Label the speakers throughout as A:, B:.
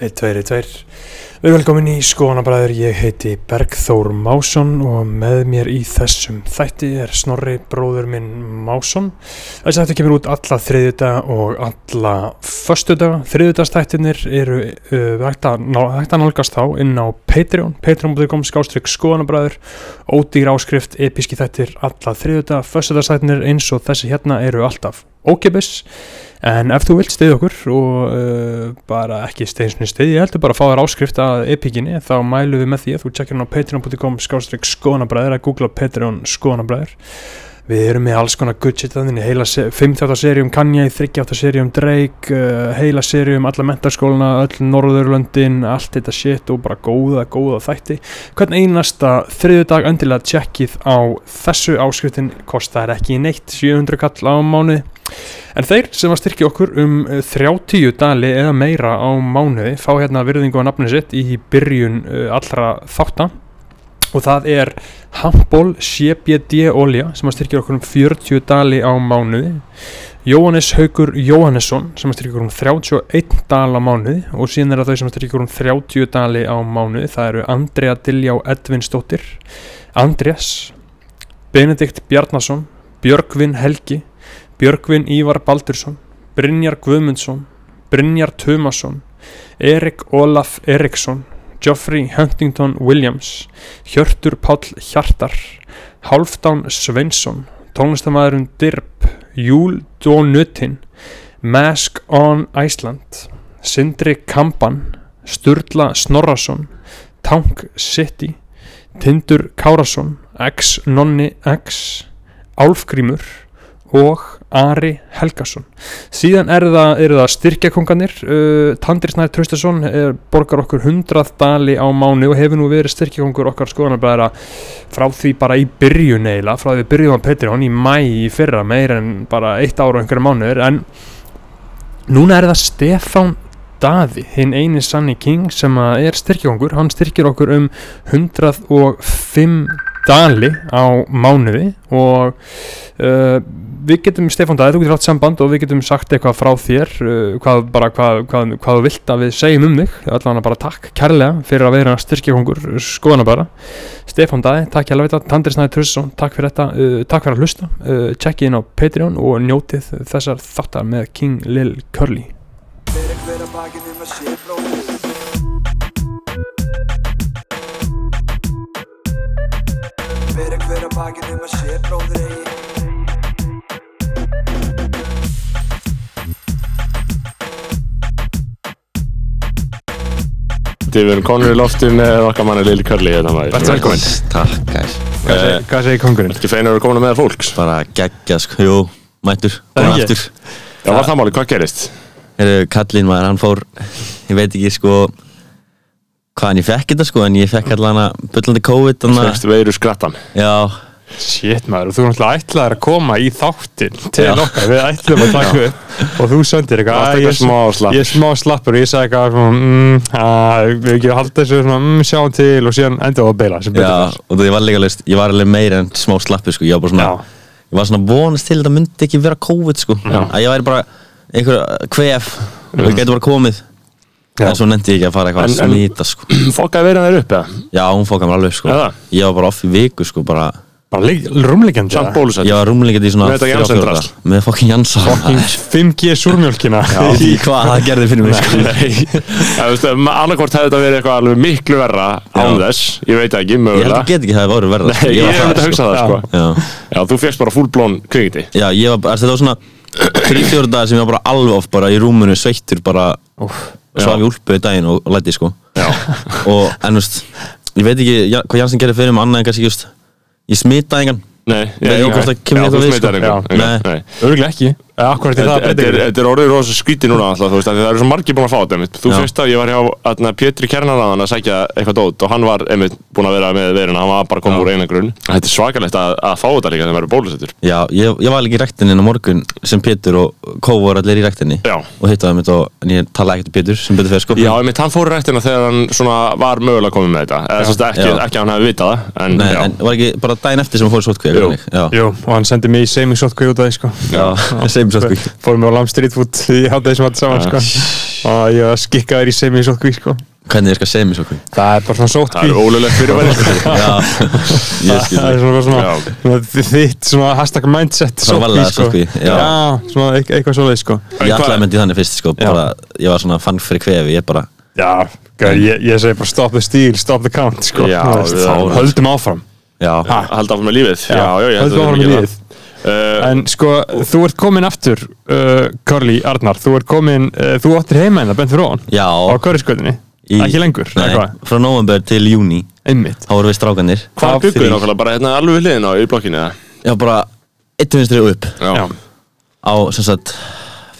A: 1, 2, 1, 2 Við erum velkomin í Skoðanabræður, ég heiti Bergþór Másson og með mér í þessum þætti er Snorri bróður minn Másson Þessi þætti kemur út alla þriðjuta og alla föstuta Þriðjutastættinir eru uh, hægt að ná- hægt að nálgast þá inn á Patreon Patreon.com skástrygg Skoðanabræður Ódýr áskrift, episki þættir, alla þriðjuta Föstutastættinir eins og þessi hérna eru alltaf ókipis En ef þú vilt stiðja okkur og uh, bara ekki steinsni stiðja, ég heldur bara að fá þér áskrift að epikinni, þá mælu við með því að þú tjekkir hann á patreon.com skástrík skoðanabræður að googla Patreon skoðanabræður. Við erum með alls konar good shit þannig, heila 15. seríum um Kanye, 38. seríum Drake, uh, heila seríum alla mentarskóluna, öll Norðurlöndin, allt þetta shit og bara góða, góða þætti. Hvern einasta þriðu dag endilega tjekkið á þessu áskriftin, kostar ekki neitt 700 kall á mánuði. En þeir sem að styrkja okkur um eh, 30 dali eða meira á mánuði fá hérna virðingu á nafni sitt í byrjun eh, allra þáttan og það er Hampol CBD olja sem að styrkja okkur um 40 dali á mánuði Jóhannes Haugur Jóhannesson sem að styrkja okkur um 31 dal á mánuði og síðan er það þau sem að styrkja okkur um 30 dali á mánuði það eru Andrea Diljá Edvinsdóttir Andreas Benedikt Bjarnason Björgvin Helgi Björgvin Ívar Baldursson, Brynjar Guðmundsson, Brynjar Tumason, Erik Olaf Eriksson, Geoffrey Huntington Williams, Hjörtur Páll Hjartar, Hálfdán Sveinsson, tónlistamæðurinn Dirb, Júl Dónutin, Mask on Iceland, Sindri Kampan, Sturla Snorrason, Tank City, Tindur Kárasson, X Nonni X, Álfgrímur, og Ari Helgason síðan er það, eru það styrkjakonganir uh, Tandri Snær Traustason er, borgar okkur 100 dali á mánu og hefur nú verið styrkjakongur okkar skoðanabæðara frá því bara í byrjun eiginlega, frá því við byrjum á Patreon í mæ í fyrra meir en bara eitt ára og einhverja mánuður en núna er það Stefán Daði, hinn eini Sunny King sem að er styrkjakongur, hann styrkir okkur um 105 dali á mánuði og uh, við getum Stefán Dæði, þú getur haft samband og við getum sagt eitthvað frá þér uh, hvað, bara, hvað, hvað, hvað þú vilt að við segjum um þig allan að bara takk kærlega fyrir að vera styrkjakongur skoðana bara Stefán Dæði, takk hjálpa þetta, Tandri Snæði Trusson takk fyrir þetta, uh, takk fyrir að hlusta uh, checkið inn á Patreon og njótið þessar þáttar með King Lil Curly
B: Fyrir hver að bakinu með sé bróðir Fyrir hver að bakinu með sé bróðir eigi
C: Þið við erum konur í loftin með okkar manni Lili Curly hérna maður. Eh,
A: Vertu velkominn.
D: Takk, gæs
A: Hvað, seg, hvað segir kongurinn?
C: Ertu feinar að koma með fólks?
D: Bara geggja, sko, jú, mættur Búin
A: ekki.
D: aftur
C: Já, var það máli, hvað gerist?
D: Heru, Kallinn maður, hann fór Ég veit ekki, sko Hvaðan ég fekk þetta, sko En ég fekk allan að bullandi COVID þannig að-
C: Fyrst veiru skrattan.
D: Já,
A: Shit maður, þú náttúrulega ætlaðir að koma í þáttin til
D: Já.
A: okkar, við ætlum að taka upp og þú söndir eitthvað "Æ,
C: Varst
A: ég
C: eitthvað smá slapp."
A: Ég er smá slappur og ég sagði eitthvað svona, mm, að, við ekki að halda þessu svona, mm, sjáum til og síðan enda á að beila sem betur
D: já,
A: fer.
D: og það var líka leist Ég var alveg meira en smá slappu, sko Ég var bara svona
A: Já.
D: Ég var svona vonast til þetta myndi ekki vera COVID, sko
A: Já.
D: Að ég væri bara einhver uh, kvef Það getur bara komið
A: Já.
D: En svo nefndi ég ekki að fara eitthvað
C: En- en-
D: að smýta, sko
C: Fokkaði veiran þér upp eða?
D: Já, hún fókaði mér alveg, sko
C: Já.
D: Ég var bara off í viku, sko, bara
A: Bara rúmlegjandi
C: Samt bólusett.
D: Ég var rúmlingandi í svona
C: Með þetta
D: þrjá,
C: Janssen
D: fjóra
C: drasl.
D: daga. Með fokkin Jansson
A: 5G súrmjölkina
D: Í hvað það gerði fyrir mig sko.
C: Það veist, annarkvort hefði þetta verið eitthvað alveg miklu verra án
D: Já.
C: þess. Ég veit það ekki,
D: Ég held
C: mögulega.
D: að get ekki að það voru verða
C: Nei, ég hef þetta
D: sko.
C: hugsað það,
A: Já.
C: sko.
D: Já,
C: Já, þú fegst bara fullblón kvingiti.
D: já ég var, bara- þetta var svona Þrjá fjóra dagar sem ég var bara alveg off bara í rúmunu Sveittur bara Og svaf í úlpu í daginn og læti sko
C: Já.
D: Og en veist Ég veit ekki ja, hvað Jansson gerði fyrir mig annað en kannski just Ég smitaði engan
C: Nei,
D: Veit ekki hvort það kemur
C: Já,
D: eitthvað
C: þú
D: við,
C: smitar
D: sko.
C: einhvern.
D: Já.
C: Nei,
D: Nei.
C: nei.
A: Örgulega ekki, Eh, akkurat í það
C: Þetta
A: breytir
C: er-
A: ekki.
C: þetta er orðið rosa skríti núna alltaf, þú veist, af því það eru svo margir búin að fá þetta einmitt. Þú
D: Já.
C: fyrst að ég var hjá atna, Pétri Kernarðan að sækja eitthvað dót og hann var einmitt búin að vera með veruna, hann var bara komið úr eina grunn. Þetta er svakalegt að, að fá þetta líka þegar maður er bólusettur.
D: Já, ég, ég var líka í rektinni en á morgun sem Pétur og Kó voru allir í rektinni
C: Já.
D: Og hittaði mitt og en ég talaði ekkert um Pétur sem betur fyrir sko
C: Já, einmitt, hann fór í rættina þegar hann svona var mögulega komið með þetta. Eða, sérst, ekki,
D: Já.
C: ekki að hann hefði vitað það, en
D: Nei,
C: já.
D: en var ekki bara daginn eftir sem hún fór í sótkvíð
C: Jú.
D: Já,
A: Jú, og hann sendi mig í semisótkvæði út af því sko
D: já, segjum sótkvíð
A: Fórum við á Lamb Street Food í hátæði sem allt saman sko og ég var skikkaður í semi svo kví sko.
D: Hvernig er sko sem í svo kví?
A: það er bara svona sótt
C: Það er sko. ólulegt fyrir væri
D: Já, ég skil
A: það er
D: þig
A: svona, svona,
C: Já.
A: svona þi- þitt svona hashtag mindset
D: Svona
A: sóttkví,
D: varlega
A: sko.
D: sóttkví, já.
A: já svona eit- eitthvað svoleið sko.
D: Ég
C: Hvað-
D: ætlaði að myndi þannig fyrst sko bara, Ég var svona fann fyrir kvefi Ég bara,
A: já, gæði, ég, ég segi bara stop the steal, stop the count sko.
C: Já,
A: Þú veist,
C: við erum-
A: höldum áfram
D: já
A: Ha.
C: Halda áfram með lífið Já, já, ég held
A: höldum
C: að
A: áfram í
C: við erum
A: lífið
C: ekki það
A: En sko, þú ert komin aftur, uh, Curly Arnar, þú ert komin, uh, þú áttir heima hérna, bent fyrir ofan,
D: Já
A: á Currysköldinni,
D: í-
A: ekki lengur,
D: Nei,
A: eða hvað,
D: frá november til júni
A: einmitt.
D: Þá voru við strákanir
C: Hvað
A: Top
C: byggur
A: three.
C: þið nákvæmlega? Bara hérna alveg við hliðina á í blokkinni eða?
D: Já, bara eitt vinstri og upp
C: Já.
D: Á, sem sagt,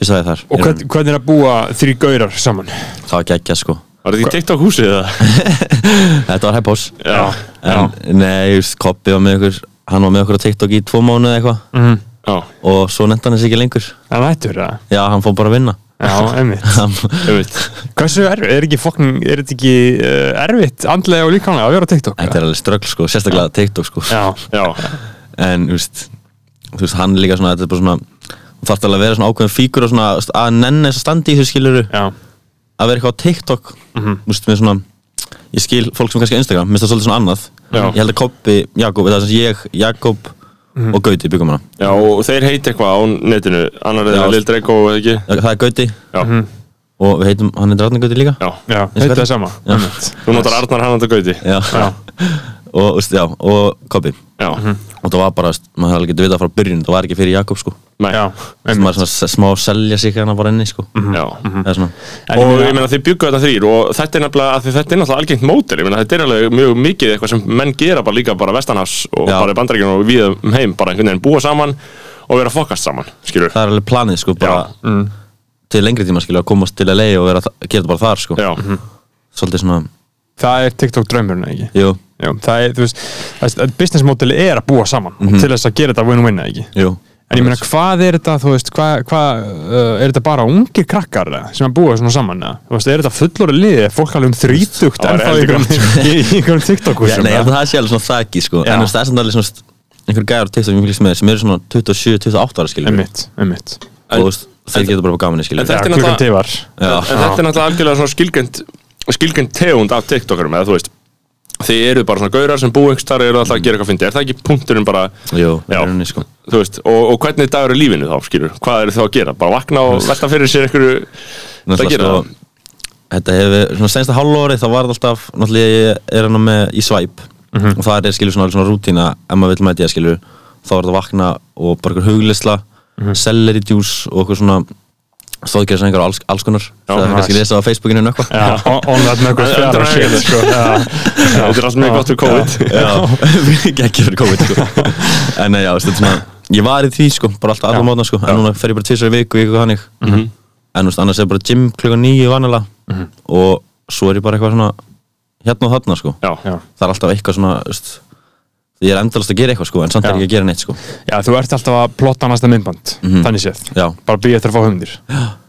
D: fyrst aðeins þar
A: Og hvern, hvernig er að búa þrý gaurar saman?
D: Það var geggja sko
C: Var þetta í TikTok húsið eða?
D: Þetta var hæpós
C: Já.
D: En, nei, just, Koppi var með okkur Hann var með okkur á TikTok í tvo mánu eða eitthvað
C: Já.
D: Og svo nefndi hann þess ekki lengur
A: En ættur það?
D: Já, hann fór bara að vinna
A: Já, einmitt.
D: Hann-
C: Einmitt.
A: Hversu erfitt, er ekki fokkin, er þetta ekki uh, erfitt andlega og líkanlega að vera á TikTok?
D: Þetta er alveg ströggl sko, sérstaklega TikTok sko
A: Já,
C: Já.
D: en þú veist, þú veist, hann er líka svona, þetta er bara svona þú þarf alveg að vera svona ákveðin fíkur og svona þú veist, að nenni þess að standi í þessu skiluru
A: já, Mhm.
D: að vera eitthvað á TikTok þú veist, með svona, ég skil fólk sem er kannski á Instagram, minnst það svolítið svona annað
C: Já.
D: ég held að Kobbi, Jakob, það er sem ég, Jakob
A: Mhm.
D: og Gauti byggum hana
C: Já, og þeir heiti eitthvað á netinu Annar
D: Já.
C: eða Lil Drego eða ekki?
D: Já, það er Gauti
C: Já.
D: og við heitum, hann er Ratna Gauti líka
C: Já.
A: já,
D: skal-
A: þetta er sama.
D: Já.
A: einmitt.
C: Þú notar Arnar Hannanda Gauti.
D: Já.
A: Já.
D: og, þú veist, já, og Kobbi
C: Já.
D: og það var bara, þú veist, maður hefði alveg getið vitað frá byrjun það var ekki fyrir Jakob sko
C: Nei.
A: Já,
D: Þú veist,
A: einmitt. Mhm.
D: maður er svona s- smá að selja sig hérna bara inni sko
C: Já.
D: það er svona
A: En
C: Og
A: meina-
C: Mhm. ég meina þið byggu þetta þrýr og þetta er nefnilega að því þetta er náttúrulega algengt mótel, ég meina þetta er alveg mjög mikið eitthvað sem menn gera bara líka bara vestanhafs og
D: Já.
C: bara í bandaríkjunum og við um heim bara einhvern veginn búa saman og vera fokast saman, skilur.
D: það er alveg planið sko bara
C: Mhm.
D: til lengri tíma skilja að komast til að leiði og vera, að gera þetta bara þar sko
C: Já.
D: svolítið svona,
A: það er TikTok draumurinn, ekki?
D: jú,
A: Já, það er, þú veist, það er- business modeli er að búa saman
D: Mhm.
A: til þess að gera þetta win-win eða ekki.
D: jú
A: En ég meina, hvað er þetta, þú veist, hvað, hvað uh, er þetta bara ungir krakkar eða, sem að búa svona saman, eða? Þú veist, er þetta fullorði liðið, er fólk alveg um þrítugt,
C: Það
A: en
C: var
A: það í
C: eldgott.
A: einhverjum- í- í einhverjum
D: Já,
A: TikTok-húsum,
D: nei, ég held að það sé alveg svona þakki sko
A: Já.
D: en þú veist, það er samt alveg svona st- einhver gæður tekst sem ég fylgst með sem eru svona 27-28 ára skilja
A: Emmitt, emmitt.
D: og þú veist, þeir geta bara gaman skilja
C: en
A: Já,
C: það- Þetta er
A: klukkan
C: náttúrulega-
A: tifar.
D: Já.
C: en þetta er náttúrulega algjörlega svona skilgjönd skilgjönd tegund af TikTokarum eða þú veist þið eru bara svona gaurar sem búið einhvers þar eru alltaf að gera eitthvað fyndi er það ekki punkturinn bara
D: jú,
C: Já.
D: það er henni sko
C: þú veist og, og hvernig dagur er lífinu þá skilur hvað eru þá að gera bara vakna og velta fyrir sér einhverju það gera
D: Náttúrulega,
C: það
D: sko, þetta hefur, svona sensta hálfórið þá var þetta alltaf, náttúrulega ég er hann með í svæp
C: Mhm.
D: og það er skilur svona, svona rútína ef maður vil mæti að skilur þá er þetta vakna og bara einhver huglisla
C: Mhm.
D: celery juice og eitthvað svona stóðgerðsengar og alls, alls konar það er
C: nice.
D: kannski lesa á Facebookinu en eitthvað
A: Já, on- on that með eitthvað
C: Þetta er
A: fjara shit,
C: ekkert.
A: sko. Já,
C: þetta er allt mjög gott fyrir COVID
D: Já, ekki verið COVID sko. en nei, já, þetta er svona ég var í því sko, bara alltaf allar mótna sko en núna fer ég bara tvisar í viku, viku hannig mm -hmm. en þú veist, annars er bara gym klukkan nýju vanilega og svo er ég bara eitthvað svona hérna og þarna sko
C: já
A: já.
D: það er alltaf eitthvað svona, þú veist ég er endalast að gera eitthvað sko, en samt er
A: Já.
D: ég ekki að gera neitt sko
A: Já, þú ert alltaf að plotta næsta myndband, þannig séð.
D: Já.
A: Bara býja eftir að fá hugmyndir.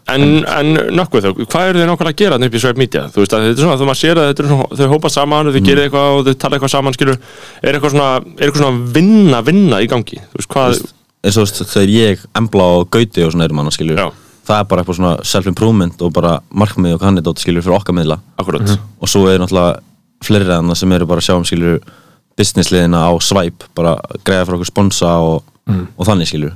C: En, en nökkveð þau, hvað eru þau nákvæmlega að gera þannig upp í Swipe Media? Þú veist að þetta er svona, þú maður sér að þetta er svona, þau hópa saman, þau gerir eitthvað og þau tala eitthvað saman, skilur, er eitthvað svona, er eitthvað svona vinna, vinna í gangi? Þú veist hvað,
D: eins og þú veist, þegar ég embla og gauti og svona erum annars skilju
C: Já.
D: það er bara eitthvað svona self-improvement og bara markmið og kannið dótt skilju fyrir okkar miðla
C: akkurat,
D: og svo er náttúrulega fleiri aðna sem eru bara að sjá um skilur businessliðina á svæp bara greiða fyrir okkur sponsa og,
A: Mm.
D: og þannig skilur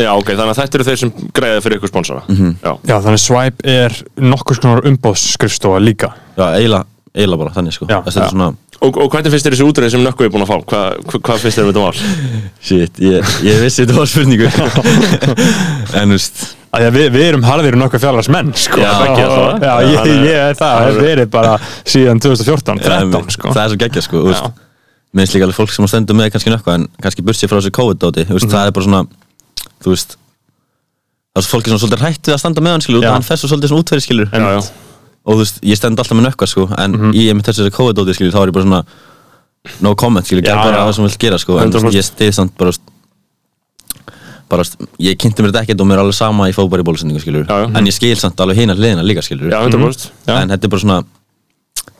C: Já, ok, þannig að þetta eru þeir sem greiða fyrir ykkur sponsora Já,
A: Já, þannig Swipe er nokkurs konar umbóðsskrifstofa líka.
D: já, eiginlega, eiginlega bara þannig sko
A: Já,
D: Þess, þetta
A: já.
D: er svona,
C: og, og hvernig finnst þér þessi útreið sem Nökkvi er búin að fá? Hvað hva, hva finnst þér um þetta mál?
D: shit, ég, ég vissi þetta var spurningu en þú veist
A: Að því að við, við erum harðir um nokkuð fjarlags menn sko.
C: Já, ekki, það.
A: Já, ég,
C: Já, það er-
A: ég er það, það er verið bara síðan 2014, 13 sko.
D: það er svo geggja sko þú veist, minnst líka alveg fólk sem á stendur með kannski nökkva en kannski bursi frá þessu COVID-dóti mm.
A: Mhm.
D: það er bara svona þú veist það er svo fólk er svona svolítið hrætt við að standa með hann skilur
A: Já.
D: og hann fer svo svolítið svona útferði skilur
C: Já, já,
D: og þú veist, ég stend alltaf með nökkva sko en
C: Mhm.
D: í einmitt þessu þessu COVID-dóti skilur þá er ég bara svona no comment skilur, gerð
C: Já,
D: bara
C: já.
D: það sem vilt gera sko en þú veist,
C: 100%.
D: ég stið samt bara þú veist, bara, þú veist, ég kynnti mér þetta ekkert og mér er alveg sama í fótbari bólusendingu skilur
C: Já, já.
D: en ég skil samt alveg hina hliðina líka skilur Mhm.
C: já, 100%
D: en þetta er bara svona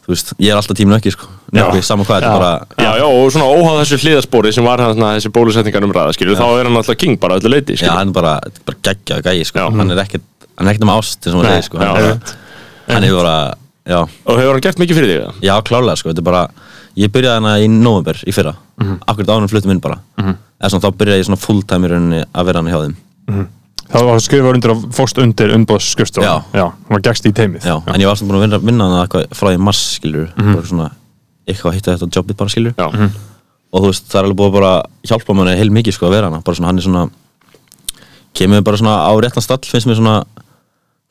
D: þú veist, ég er alltaf tíminu ekki sko nökkvi, sama hvað, þetta er bara
C: Já, já, og svona óháð þessu hliðarspori sem var hann þessi bólusetningar um ræða, skilur, þá er hann alltaf king bara öllu leiti,
D: Já,
C: skilur
D: hann er bara, þetta er bara geggjaðu gæi sko.
C: Já.
D: hann er ekkert hann er ekkert um ást eins og maður
C: Nei,
D: segir sko. hann,
C: já,
D: er bara,
C: rétt.
D: hann hefur bara, já,
C: Og hefur hann gert mikið fyrir þig? eða?
D: já klálega sko, þetta er bara ég byrjaði hana í november í fyrra mm -hmm. akkurat ánum fluttum inn bara eða svona þá byrjaði ég svona full time í rauninni að vera hana hjá þeim
A: Það var skrifað undir að fóst undir umbóðs
D: Já.
A: Já, hún var gegst í teimið.
D: já, en ég var svona búin að vinna, vinna hana eitthvað frá því í mars skilur, bara svona eitthvað að hitta þetta jobbið bara skilur
C: Já,
D: og þú veist, það er alveg búið að bara hjálpa manni heil mikið sko að vera hana, bara svona hann er svona kemur bara svona á réttan stall finnst mér svona,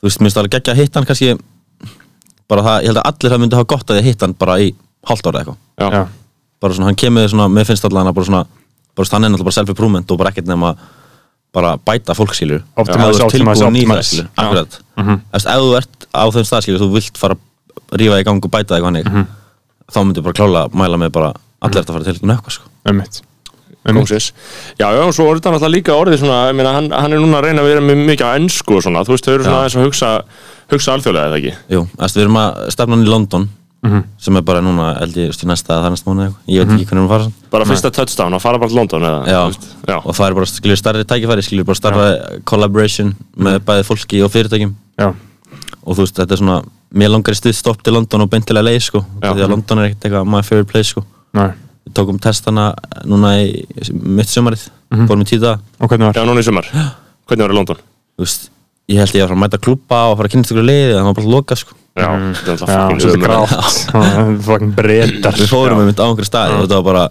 D: þú veist, mér finnst alveg geggja að hitta hann kannski bara það, ég held að allir það myndi hafa gott að ég hitta hann bara í hálft ára eitthvað,
C: já,
D: bara svona hann kemur svona, mér finnst allan að bara svona bara svona, hann er náttúrulega bara self-improvement og bara ekkert nema bara bæta fólkskilur
A: Optimize, optimize, optimize. Já.
D: akkurat,
C: Mhm.
D: Eftir, ef þú ert á þeim stað skilur, þú vilt fara að rífa í gang og bæta eitthvað hannig,
C: Mhm.
D: þá myndi ég bara klála mæla með bara allir þetta að fara til nökkva sko.
A: Einmitt. Einmitt.
C: Moses. Já, já, og svo er þetta náttúrulega líka orðið svona, ég meina, hann, hann er núna að reyna að vera með mikið á ennsku og svona, þú veist, þau eru svona aðeins að hugsa, hugsa alþjóðlega eða ekki.
D: Jú, æst, við erum að stefna hann í London
C: Mhm.
D: sem er bara núna, held ég, stu, næsta það er næsta mánu eitthvað, ég veit ekki hvernig við fara samt.
C: Bara fyrsta touchdown og fara bara til London eða,
D: já.
C: þú veist, Mhm. já,
D: og það er bara skilur starri tækifæri, skilur bara starra collaboration
C: Mhm.
D: með bæði fólki og fyrirtækjum
A: Já.
D: og þú veist, þetta er svona mér langar í stuðstopp til London og beintilega leið sko,
C: Já.
D: því að London er ekkert eitthvað my favorite place sko,
A: Nei.
D: við tókum testana núna í mitt sumarið fórum í títa,
A: Og hvernig var?
C: já, núna í sumar. Hvernig var í London?
D: þú veist ég held ég að fara að mæta klúpa og fara að kynast ykkur leiði það var bara loka sko
C: Já, þetta er alltaf
A: Já,
C: fucking
A: svolítið
C: ömurlegt.
A: grátt. Já, Fucking breytar.
D: við fórum einmitt á einhver stað og þetta var bara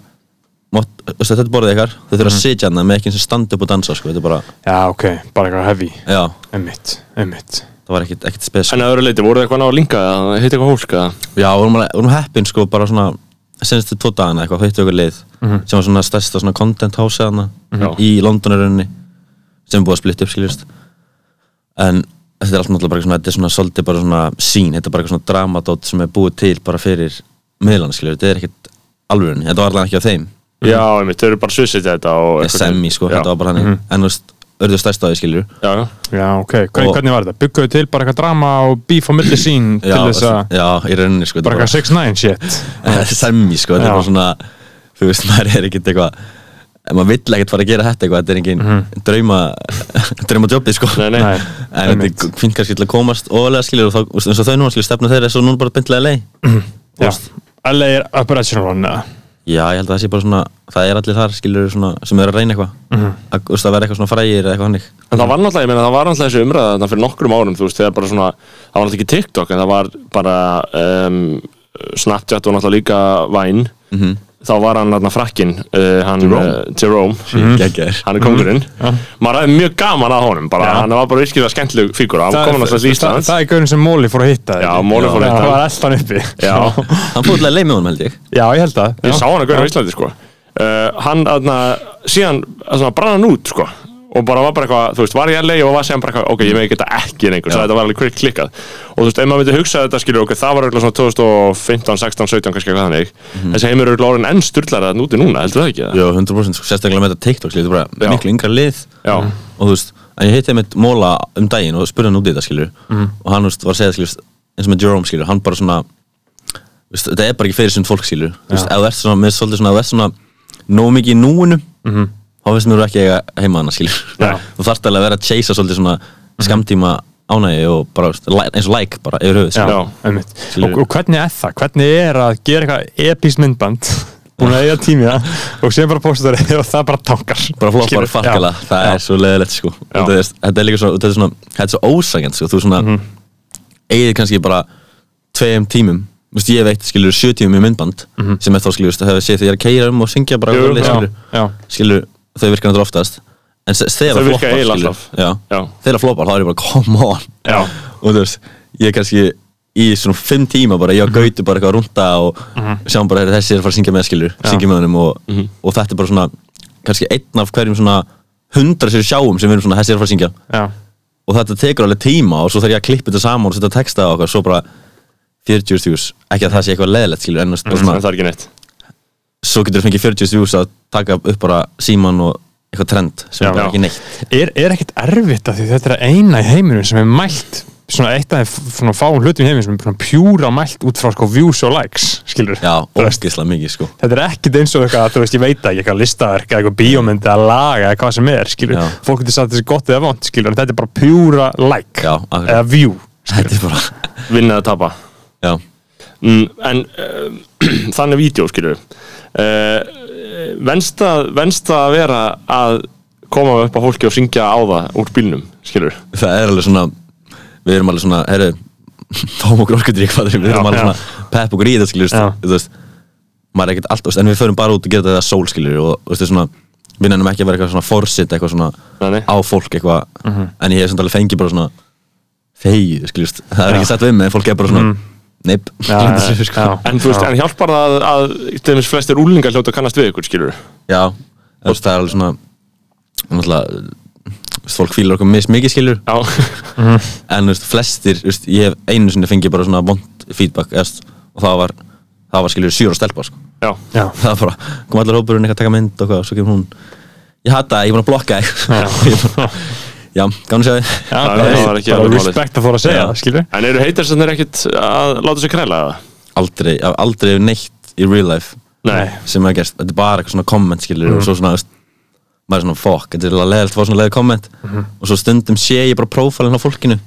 D: mátt, þú veist, þetta er borðið ykkar, þau þurfa að sitja hana með ekki sem standa upp og dansa sko, þetta er bara,
A: Já, ok, bara eitthvað heavy.
D: já,
A: Einmitt, einmitt.
D: það var ekkert, ekkert spes sko.
C: En að öðru leiti, voru það eitthvað ná að linka eða hitt eitthvað hólk eða?
D: já, vorum, alveg- vorum heppin sko, bara svona senstu tvo dagana eitthvað, hittu okkur leið sem var svona stærsta svona content house hana
C: Já.
D: í Londonaruninni sem er búið að splitta upp skiljast en þetta er allt náttúrulega bara svona, þetta er svona svolítið bara svona sín, þetta er bara eitthvað svona dramadót sem er búið til bara fyrir miðlan skiljur, þetta er ekkert alvörunni, þetta var allan ekki á þeim
C: Já, einmitt, þau eru bara svisitið þetta og... eitthvað-
D: semi Mm. sko,
C: já,
D: þetta var bara þannig en þú veist, örðu stærst á því skilur
C: Já, já.
A: Já, ok, hvernig,
D: Og-
A: hvernig var þetta? Bygguðu til bara eitthvað drama og bíf á milli sín til þess að
D: já, í rauninni sko
A: bara eitthvað 6-9 shit
D: eitthvað semi sko, þetta
A: Já.
D: er bara svona þú veist, maður er ekkert eitthvað en maður vill ekkert fara að gera þetta eitthvað þetta er engin drauma drauma jobbi sko
C: Mhm. Nei, nei.
A: Nei,
D: en þetta er fint kannski til að komast ofalega skilur og þá, þú veist, eins og þau núna skilur stefna þeirra er svo núna bara beintilega leið
A: já LA er operational run eða?
D: já, ég held að það sé bara svona, það er allir þar skilur svona, sem eru að reyna eitthvað
C: Mhm.
D: að, þú veist, að vera eitthvað svona frægir eða eitthvað hannig
C: En það var náttúrulega, ég meina, það var náttúrulega þessi umræða þarna fyrir nokkrum árum, þú veist, þegar bara svona, það var náttúrulega ekki TikTok, en það var bara um, Snapchat og náttúrulega líka Vine,
A: Mhm.
C: þá var hann þarna frakkinn, uh, hann, Jerome, uh, Jerome
A: Mhm.
D: geggjær
C: hann er kongurinn, maður hafði mjög gaman að honum, bara, hann var bara virkilega skemmtileg fígura, hann kom náttúrulega til
A: það,
C: Íslands,
A: það er gaurin sem Móli fór að hitta
C: Já, Móli fór að hitta
A: Það
C: hann.
A: var alltaf uppi
C: já,
D: hann fór til að leið með honum held ég
A: Já, ég held að
C: ég sá hann að gauðin á Íslandi, sko, uh, hann, þarna, síðan, þarna, brann hann út, sko, og bara var bara eitthvað, þú veist, var ég að leið og var síðan bara eitthvað, ok, ég með þetta ekki lengur, það þetta var alveg kvikt klikkað og þú veist, ef maður myndi hugsa þetta, skilur, ok, það var eitthvað svona 2015, 16, 17, kannski eitthvað þannig þessi heimur eru eitthvað orðin enn styrlar að núti núna, heldur það ekki það?
D: Já, 100% sko, sérstaklega með þetta TikTok skilur, þetta er bara
C: Já.
D: miklu yngra lið Mm.
C: Já.
D: og þú veist, en ég heiti einmitt Móla um daginn og spurði hann út í þetta skilur
C: Mm.
D: og hann þú veist, var að segja skilur, eins og með Jerome skilur hann bara svona þú veist, þetta er bara ekki fyrir sund fólk skilur þú veist, ef þú ert svona, með svolítið svona, ef þú ert svona nóg mikið í núinu þá veist mér ekki eiga heima hana skilur
C: Mhm. Já. Mhm.
D: þú þarft alveg að vera að chasea svolítið svona skamtíma ánægi og bara þú veist, li- eins og like bara yfir höfuð
A: Já,
D: skilur
C: Já.
A: einmitt
D: Skilur.
A: og, og hvernig er það? Hvernig er að gera eitthvað epís myndband búin að eiga tími í það og sem bara posta það og það bara tankar
D: bara floppar farkala, það
A: Já.
D: er svo leðilegt sko.
C: Já.
D: þetta, er, þetta er líka svona, þetta er svona þetta er svo ósangjönd, sko. þú svona mm
C: Mhm.
D: eigið kannski bara tveim tímum Vist, ég veit, skilur, sjö tímum í myndband sem er þá, skilur, það hefur séð þegar ég er að keira um og syngja bara,
C: Mhm. Jú,
D: alveg,
C: já,
D: skilur,
A: já.
D: skilur þau virka náttúrulega oftast en s- þegar
C: Þau
D: það
C: virka
D: floppar,
C: eiginlega
D: skilur
C: alltaf.
D: já,
C: Já.
D: þegar það floppar, þá er ég bara, come on
C: Já.
D: og þú veist, ég er kannski í svona fimm tíma bara,
C: Mhm.
D: ég og Gauti bara eitthvað að rúnda og sjáum bara, heyrðu, þessi er að fara að syngja með skilur, syngja með honum og,
C: Mhm.
D: og þetta er bara svona, kannski einn af hverjum svona hundra sér sjáum sem við erum svona, þessi er að fara að syngja
A: Já,
D: og þetta tekur alveg tíma og svo þarf ég að klippa þetta saman og setja texta og okkar, svo bara 40 stjús, ekki að það sé eitthvað leðilegt skilur, en þú veist, bara
C: Mhm, En
D: svona,
C: það er ekki neitt
D: svo getur þú fengið 40 stjús að taka upp bara síman og eitthvað trend sem
C: Já.
D: er bara
C: Já.
D: ekki neitt
A: er, er ekkert erfitt að því þetta er eina í heiminum sem er mælt svona eitt af þeim f- svona fáum hlutum í heiminum sem er svona pjúra mælt út frá sko views og likes skilur
D: Já,
A: Þú veist,
D: ógeðslega mikið sko
A: þetta er ekkert eins og eitthvað þú veist ég veit það ekki eitthvað listaverk eða eitthvað bíómynd eða lag eða hvað sem er skilur
D: Já.
A: fólk getur sagt þessi gott eða vond skilur en þetta er bara pjúra like
D: Já, akkurat.
A: eða view
D: Þetta er bara,
C: vinna eða tapa
D: já,
C: mm, en uh, þannig vídeo skilur uh, venst, að, venst að vera að koma upp á fólki og syngja á það úr bílnum skilur
D: það er alveg svona Við erum alveg svona, herru Tóm og gróskudrykk, fattur, við erum
C: Já, já.
D: alveg svona Pepp okkur í þetta, skilur,
C: Já.
D: þú veist Maður er ekkert allt, þú veist, en við förum bara út og gera þetta sól, skilur Og, þú veist, svona, við nefnum ekki að vera eitthvað svona Forsitt, eitthvað svona
C: Nei, Mhm. nei.
D: Á fólk, eitthvað En ég hef svona alveg fengið bara svona Þegið, skilur, það er ekki sett við mig En fólk er bara svona,
C: Mhm.
D: mm. neip
E: Já, já, já.
C: en, þú veist, en hjálpar það að, að til dæmis flestir úlingar hljóta að kannast við ykkur skilur
D: Já, þú veist, það er alveg svona Náttúrulega, þú veist, fólk fílar okkur mismikið, skilur
C: já,
D: en þú veist, flestir, þú veist, ég hef einu sinni fengið bara svona vond feedback eðst, og það var, það var skiljur sjúra stelpa sko.
C: já,
E: Já,
D: það var bara, kom allar hópurinn eitthvað að taka mynd og hvað, svo kemur hún ég hata það, ég er búin að blokka þig Ég bara, já, gaman að sjá þig
C: já það,
E: Nei,
C: var ekki
E: bara
C: alveg málið
E: respekt að fóra að segja
D: Já.
E: það, skilur
C: en eru heitar sem þeir ekkit að láta sér kræla það
D: aldrei, ég hef aldrei hef neitt í real life
C: nei,
D: sem hefur gerst, þetta er bara eitthvað svona komment skiljur og svo svona, þú veist, maður er svona fuck, þetta er alveg leðilt, það var svona leðið komment og svo stundum sé ég bara prófælinn á fólkinu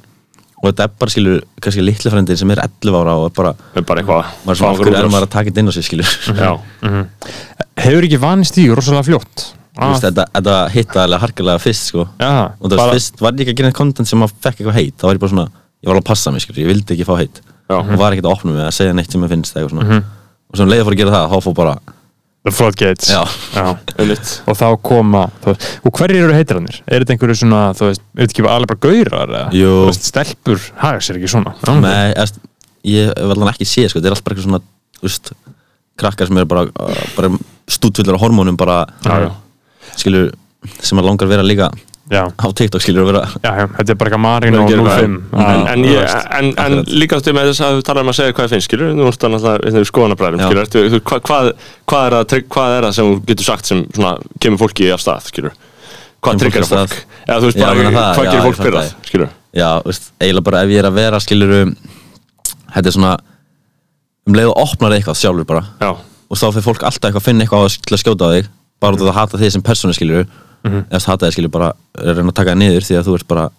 D: og þetta er bara skiljur, kannski litli frendin sem er 11 ára og er bara,
C: það er bara eitthvað
D: maður er svona, af hverju er maður að taka þetta inn á sig skiljur
C: já,
E: Hefur ekki vanist í rosalega fljótt Ah.
D: Þú veist, þetta, þetta hitta alveg harkalega fyrst sko.
E: Já,
D: og það
E: bara-
D: var fyrst, var ég ekki að gera neitt content sem að fekk eitthvað heit, þá var ég bara svona ég var alveg að passa mig, skilur, ég vildi ekki fá heit
C: Já.
D: og var ekkert að opna mig að segja neitt sem ég finnst eitthvað svona,
E: Mhm.
D: og svo um leið að fór að gera það, þá fór bara
E: The floodgates
D: Já.
C: einmitt
E: Og þá koma þú veist, Og hverjir eru heitirannir? Er þetta einhverju svona, þú veist, auðvitað ekki bara alveg bara gaurar eða?
D: Jú.
E: Þú veist, stelpur haga sér ekki svona Já,
D: nei, eðst, ég hef allan ekki séð, sko, þetta er allt bara eitthvað svona þú veist, krakkar sem eru bara, bara stúdfullar á hormónum bara,
E: Já, já.
D: skilur sem að langar að vera líka
E: Já,
D: á TikTok, skilur, að vera
E: já, já, þetta er bara eitthvað marinn og
C: Menn gera
E: 05
C: hvað- en, en, ég,
E: Já,
C: en, en
D: Akkurat.
C: líka þú með þess að þú talar um að segja hvað það finnst skilur þú ert náttúrulega hérna skoðanabræðum
D: Já.
C: skilur ertu, þú, hva, hvað, hvað, er að, trygg- hvað er það sem þú getur sagt sem svona, kemur fólki af stað skilur hvað
D: Kemur
C: triggar
D: fólki af
C: fólk
D: stað.
C: eða þú veist
D: Já,
C: bara
D: ég meina það,
C: hvað
D: já,
C: gerir
D: ég
C: fólk
D: fatta
C: byrðað
D: það.
C: skilur
D: já, þú veist, eiginlega bara ef ég er að vera skilur þetta er svona um leið og opnar eitthvað sjálfur bara
C: já,
D: og þá fyrir fólk alltaf eitthvað að finna eitthvað á að til að skjóta á þig bara út af að hata þig sem persónu skilur mm
C: Mhm.
D: -hmm. eða hata þig skilur bara er að reyna að taka þig niður því að þú ert bara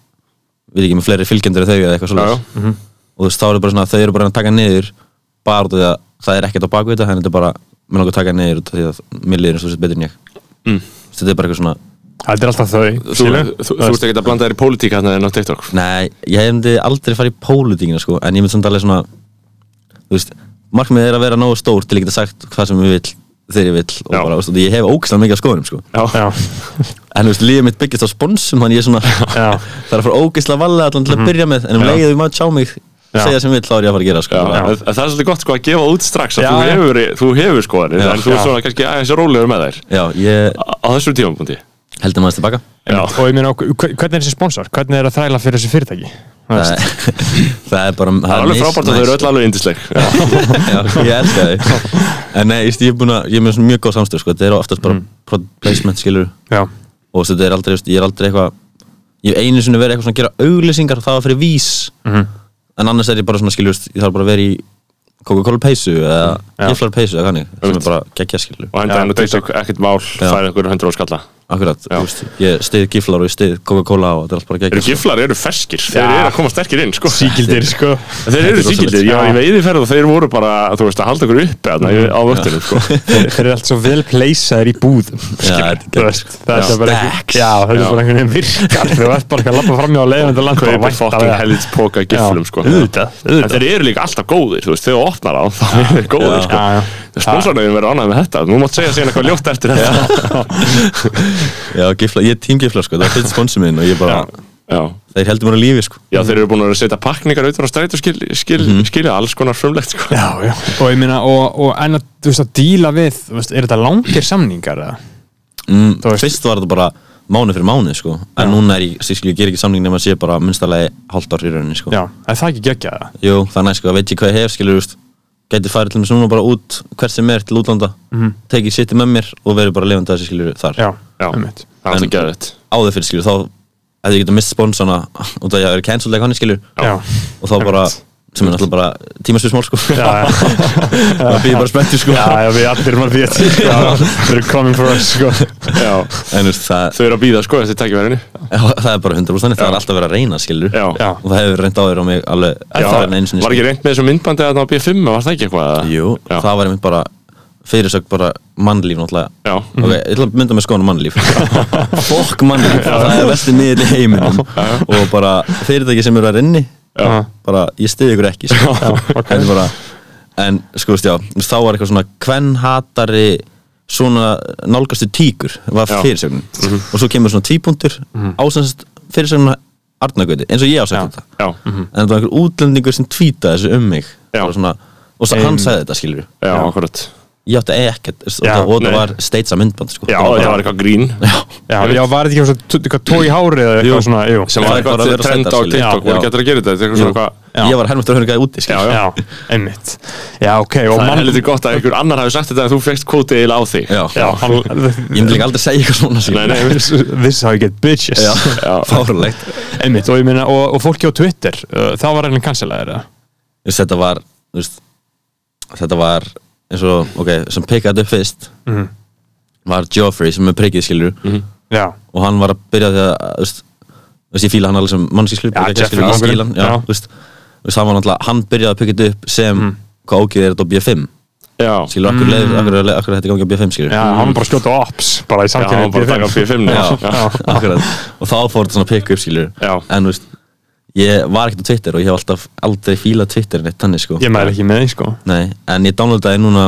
D: við ekki með fleiri fylgjendur en þau eða eitthvað
C: já, Mhm.
D: svolítið og þú veist þá er bara svona að þau eru bara að reyna að taka þig niður bara út af því að það er ekkert á bakvið þetta en þetta er bara mér langar að taka þig niður út af því að mér liður eins og þú sett betur en ég
C: Mm.
D: Þú veist, þetta er bara eitthvað svona
E: Þetta er alltaf þau,
C: þú,
E: skilur
C: þú, þú, þú ert ekki að blanda þér í pólitík hérna en á TikTok
D: Nei, ég hefndi aldrei farið í pólitíkina sko, en ég myndi samt alveg svona þú veist, markmiðið er að vera nógu stór til að geta sagt hvað sem ég vil þegar ég vil og
C: Já.
D: bara, þú veist, og ég hef ógæslega mikið af skoðunum sko.
C: já,
E: Já,
D: en þú veist, lífið mitt byggist á sponsum þannig ég er svona,
E: já,
D: það er að fara ógæslega vallega allan
C: Mhm.
D: til að byrja með, en um
E: Já.
D: leiðið við maður sjá mig
E: Já.
D: segja sem vil, þá er ég að fara að gera sko.
C: Já, en það er svolítið gott sko að gefa út strax að
E: Já,
C: þú
E: já.
C: hefur, þú hefur skoðanir
D: Já.
C: en þú er
E: Já.
C: svona kannski aðeins rólegur með þær
D: Já, ég
C: á, á þessum tímapunkti
D: heldur maður tilbaka
C: Já.
E: og ég meina, hver- hvernig er þessi sponsor? Hvernig er að þræla fyrir þessi fyrirtæki? Þú
D: það
E: veist,
D: er, það er bara
C: það er alveg frábært að þau eru öll alveg indisleg
D: Já, ég elska þau En nei, ég, ég, er búinn að- ég er með svona mjög góð samstöð sko. Þetta er oftast
C: Mhm.
D: bara product placement skilur
E: Já,
D: og þú veist, þetta er aldrei, þú veist, ég er aldrei eitthvað ég hef einu sinni verið eitthvað svona að gera auglýsingar og það var fyrir vís en annars er ég bara svona skiljust, ég þarf bara að vera í Coca-Cola peysu eða
E: Já.
D: Giflar peysu eða hannig, sem er bara geggja skilju
C: og henda
E: Já,
C: henn og TikTok ekkert mál færa ykkur 100 og skalla
D: akkurat,
C: Já.
D: þú veist, ég stið Giflar og ég stið Coca-Cola og þetta er allt bara sko.
C: Eru
D: geggja
C: giflar, eru ferskir, þeir eru að koma sterkir inn sko.
E: síkildir, sko
C: Þeir eru
D: Þetta er
C: síkildir,
D: rosalegt.
C: ég var í veiðiferð og þeir voru bara, þú veist, að halda okkur uppi þarna í- á vöktinu sko.
E: Þeir þeir eru allt svo vel pleysaðir í búðum
D: þetta er
E: skilur, þú veist, það er
D: Já.
E: það bara ekki
D: Stacks.
E: Já, það er
C: Já.
E: bara einhvern veginn virkar Þú veist bara ekki að lappa fram hjá leiðan þetta land
C: Kaupa fokking helvits póka af giflum sko.
E: Auðvitað,
C: En
E: auðvitað
C: þeir eru líka alltaf góðir, þú veist, þegar þú opnar á þá eru þeir góðir sko.
E: Já, já.
C: Sponsornöfin verður ánægð með þetta, nú mátt segja síðan eitthvað ljótt eftir þetta
D: Já, Giflar, ég er tím Giflar sko, það er fyrst sponsor minn og ég bara,
C: Já,
D: þeir heldur mér á lífi sko
C: já þeir eru búin að setja pakningar auðvitað á stræt og skil, skil,
D: Mhm.
C: skilja alls konar frumlegt sko.
E: Já, já, og ég meina, og, og en að, þú veist, að díla við, þú veist, er þetta langir samningar eða?
D: mm,
E: Þú veist-
D: Fyrst var þetta bara mánu fyrir mánu sko, en núna er ég, skilju, ég ger ekki samning nema að sé bara minnstalega hálft ár í rauninni sko
E: Já, er það ekki geggjað eða?
D: Jú, það er næst sko, veit ég hvað ég hef, skilur, veist Gæti farið til mér núna bara út hvert sem er til útlanda mm. Tekið sitti með mér og verið bara lifandi að þessi skilur þar
E: Já,
C: Já,
E: einmitt.
C: það er
D: En-
C: alltaf geðvægt
D: Áður fyrir skilur, þá Ef ég geta mist sponsana út af að ég hafi verið cancelled eitthvað hann skilur
E: Já.
D: Og þá bara, sem er náttúrulega bara tímaspismál sko
A: já, já,
D: það býði bara spenntur sko
A: já, já, við allir maður því
E: sko.
A: að they're coming for us sko.
C: Já,
D: en þú veist, það,
C: þau eru að býða sko eftir tækifærinu
D: já, það er bara 100% þannig, það er alltaf verið að reyna skilur
C: Já,
A: Já.
D: og það hefur reynd á þér á mig alveg
C: Já,
D: það er einu sinni sko.
C: Var ekki reynd með þessu myndbandi að það á B5 var það ekki eitthvað? eða?
D: Jú,
C: já.
D: það var einmitt bara fyrirsögn bara mannlíf náttúrulega
C: Já.
D: Ok, ég ætla að mynda með skoðan mannlíf Fokk mannlíf, það er vestið miðið í heiminum og bara fyrirtæki sem eru að renni
C: Já.
D: bara ég stiði ykkur ekki sko. en, bara, en sko veist já þá var eitthvað svona hvern hatari svona nálgastu tíkur var
C: Já. Mhm.
D: fyrirsögnin og svo kemur svona típuntur mm -hmm. ásensast fyrirsögnina Arnagöti, eins og ég ásætti þetta
C: Já,
D: en þetta var einhver útlendingur sem tweetaði þessu um mig
C: Mhm. Já.
D: Bara svona, og svo hann sagði þetta skilur
C: já, akkurat
D: ég átti ekkert og
A: Já,
D: það- og
C: nei.
D: það var steitsa myndband sko.
C: Já,
D: það
C: það
D: var
C: var eitthvað grín
A: já, já, var þetta ekki svona t- eitthvað tói hári eða eitthvað svona, jú
C: sem
D: Já,
C: var
D: bara að
C: eitthvað
D: vera
C: trend á
D: sætar, skilur.
C: TikTok
D: Já.
C: voru getur að gera þetta þetta er eitthvað
D: Jú.
C: svona eitthvað
A: Já.
D: ég var hermur að hörnga úti sko.
C: Já, já.
A: já, einmitt já, ok, og
C: Það er
A: mann
C: heldur gott að einhver annar hafi sagt þetta en þú fekst kvótið eiginlega á þig
D: Já.
A: já, hann
D: ég myndi líka aldrei segja eitthvað svona sko.
C: Nei, nei,
A: this, this is how you get bitches
D: Já,
C: Já.
D: fárulegt
A: einmitt, og ég meina, og, og fólki á Twitter uh, það var alveg kansalæðir
D: Þú veist, þetta var þú veist, þetta var eins og ok, sem pikkaði upp fyrst
C: Mhm.
D: var Joffrey sem er prikkið skilur
A: já,
D: og hann var að byrja því að þú veist, þú veist, ég fíla hann alveg sem mannski skilur
A: Já,
D: bara ekki,
A: Jeffrey
D: skilur, ég
A: Morgan,
D: skil hann, já,
A: já.
D: þú veist, þú veist, hann var náttúrulega hann byrjaði að pikka þetta upp sem
A: Mm.
D: hvað ógið er þetta á B5
C: Já,
D: skilur, akkur leiður, akkur, leiður, akkur þetta gangi á B5 skilur
A: já, hann var bara að skjóta ops bara í
C: já, hann var
A: samkynni
C: bara að taka á B5
D: já,
C: Já,
D: akkurat og þá fór þetta svona pikk upp skilur
C: Já.
D: en þú veist, ég var ekkert á Twitter og ég hef alltaf aldrei fílað Twitter neitt þannig sko
A: ég mæl ekki með því, sko
D: Nei, en ég downloadaði núna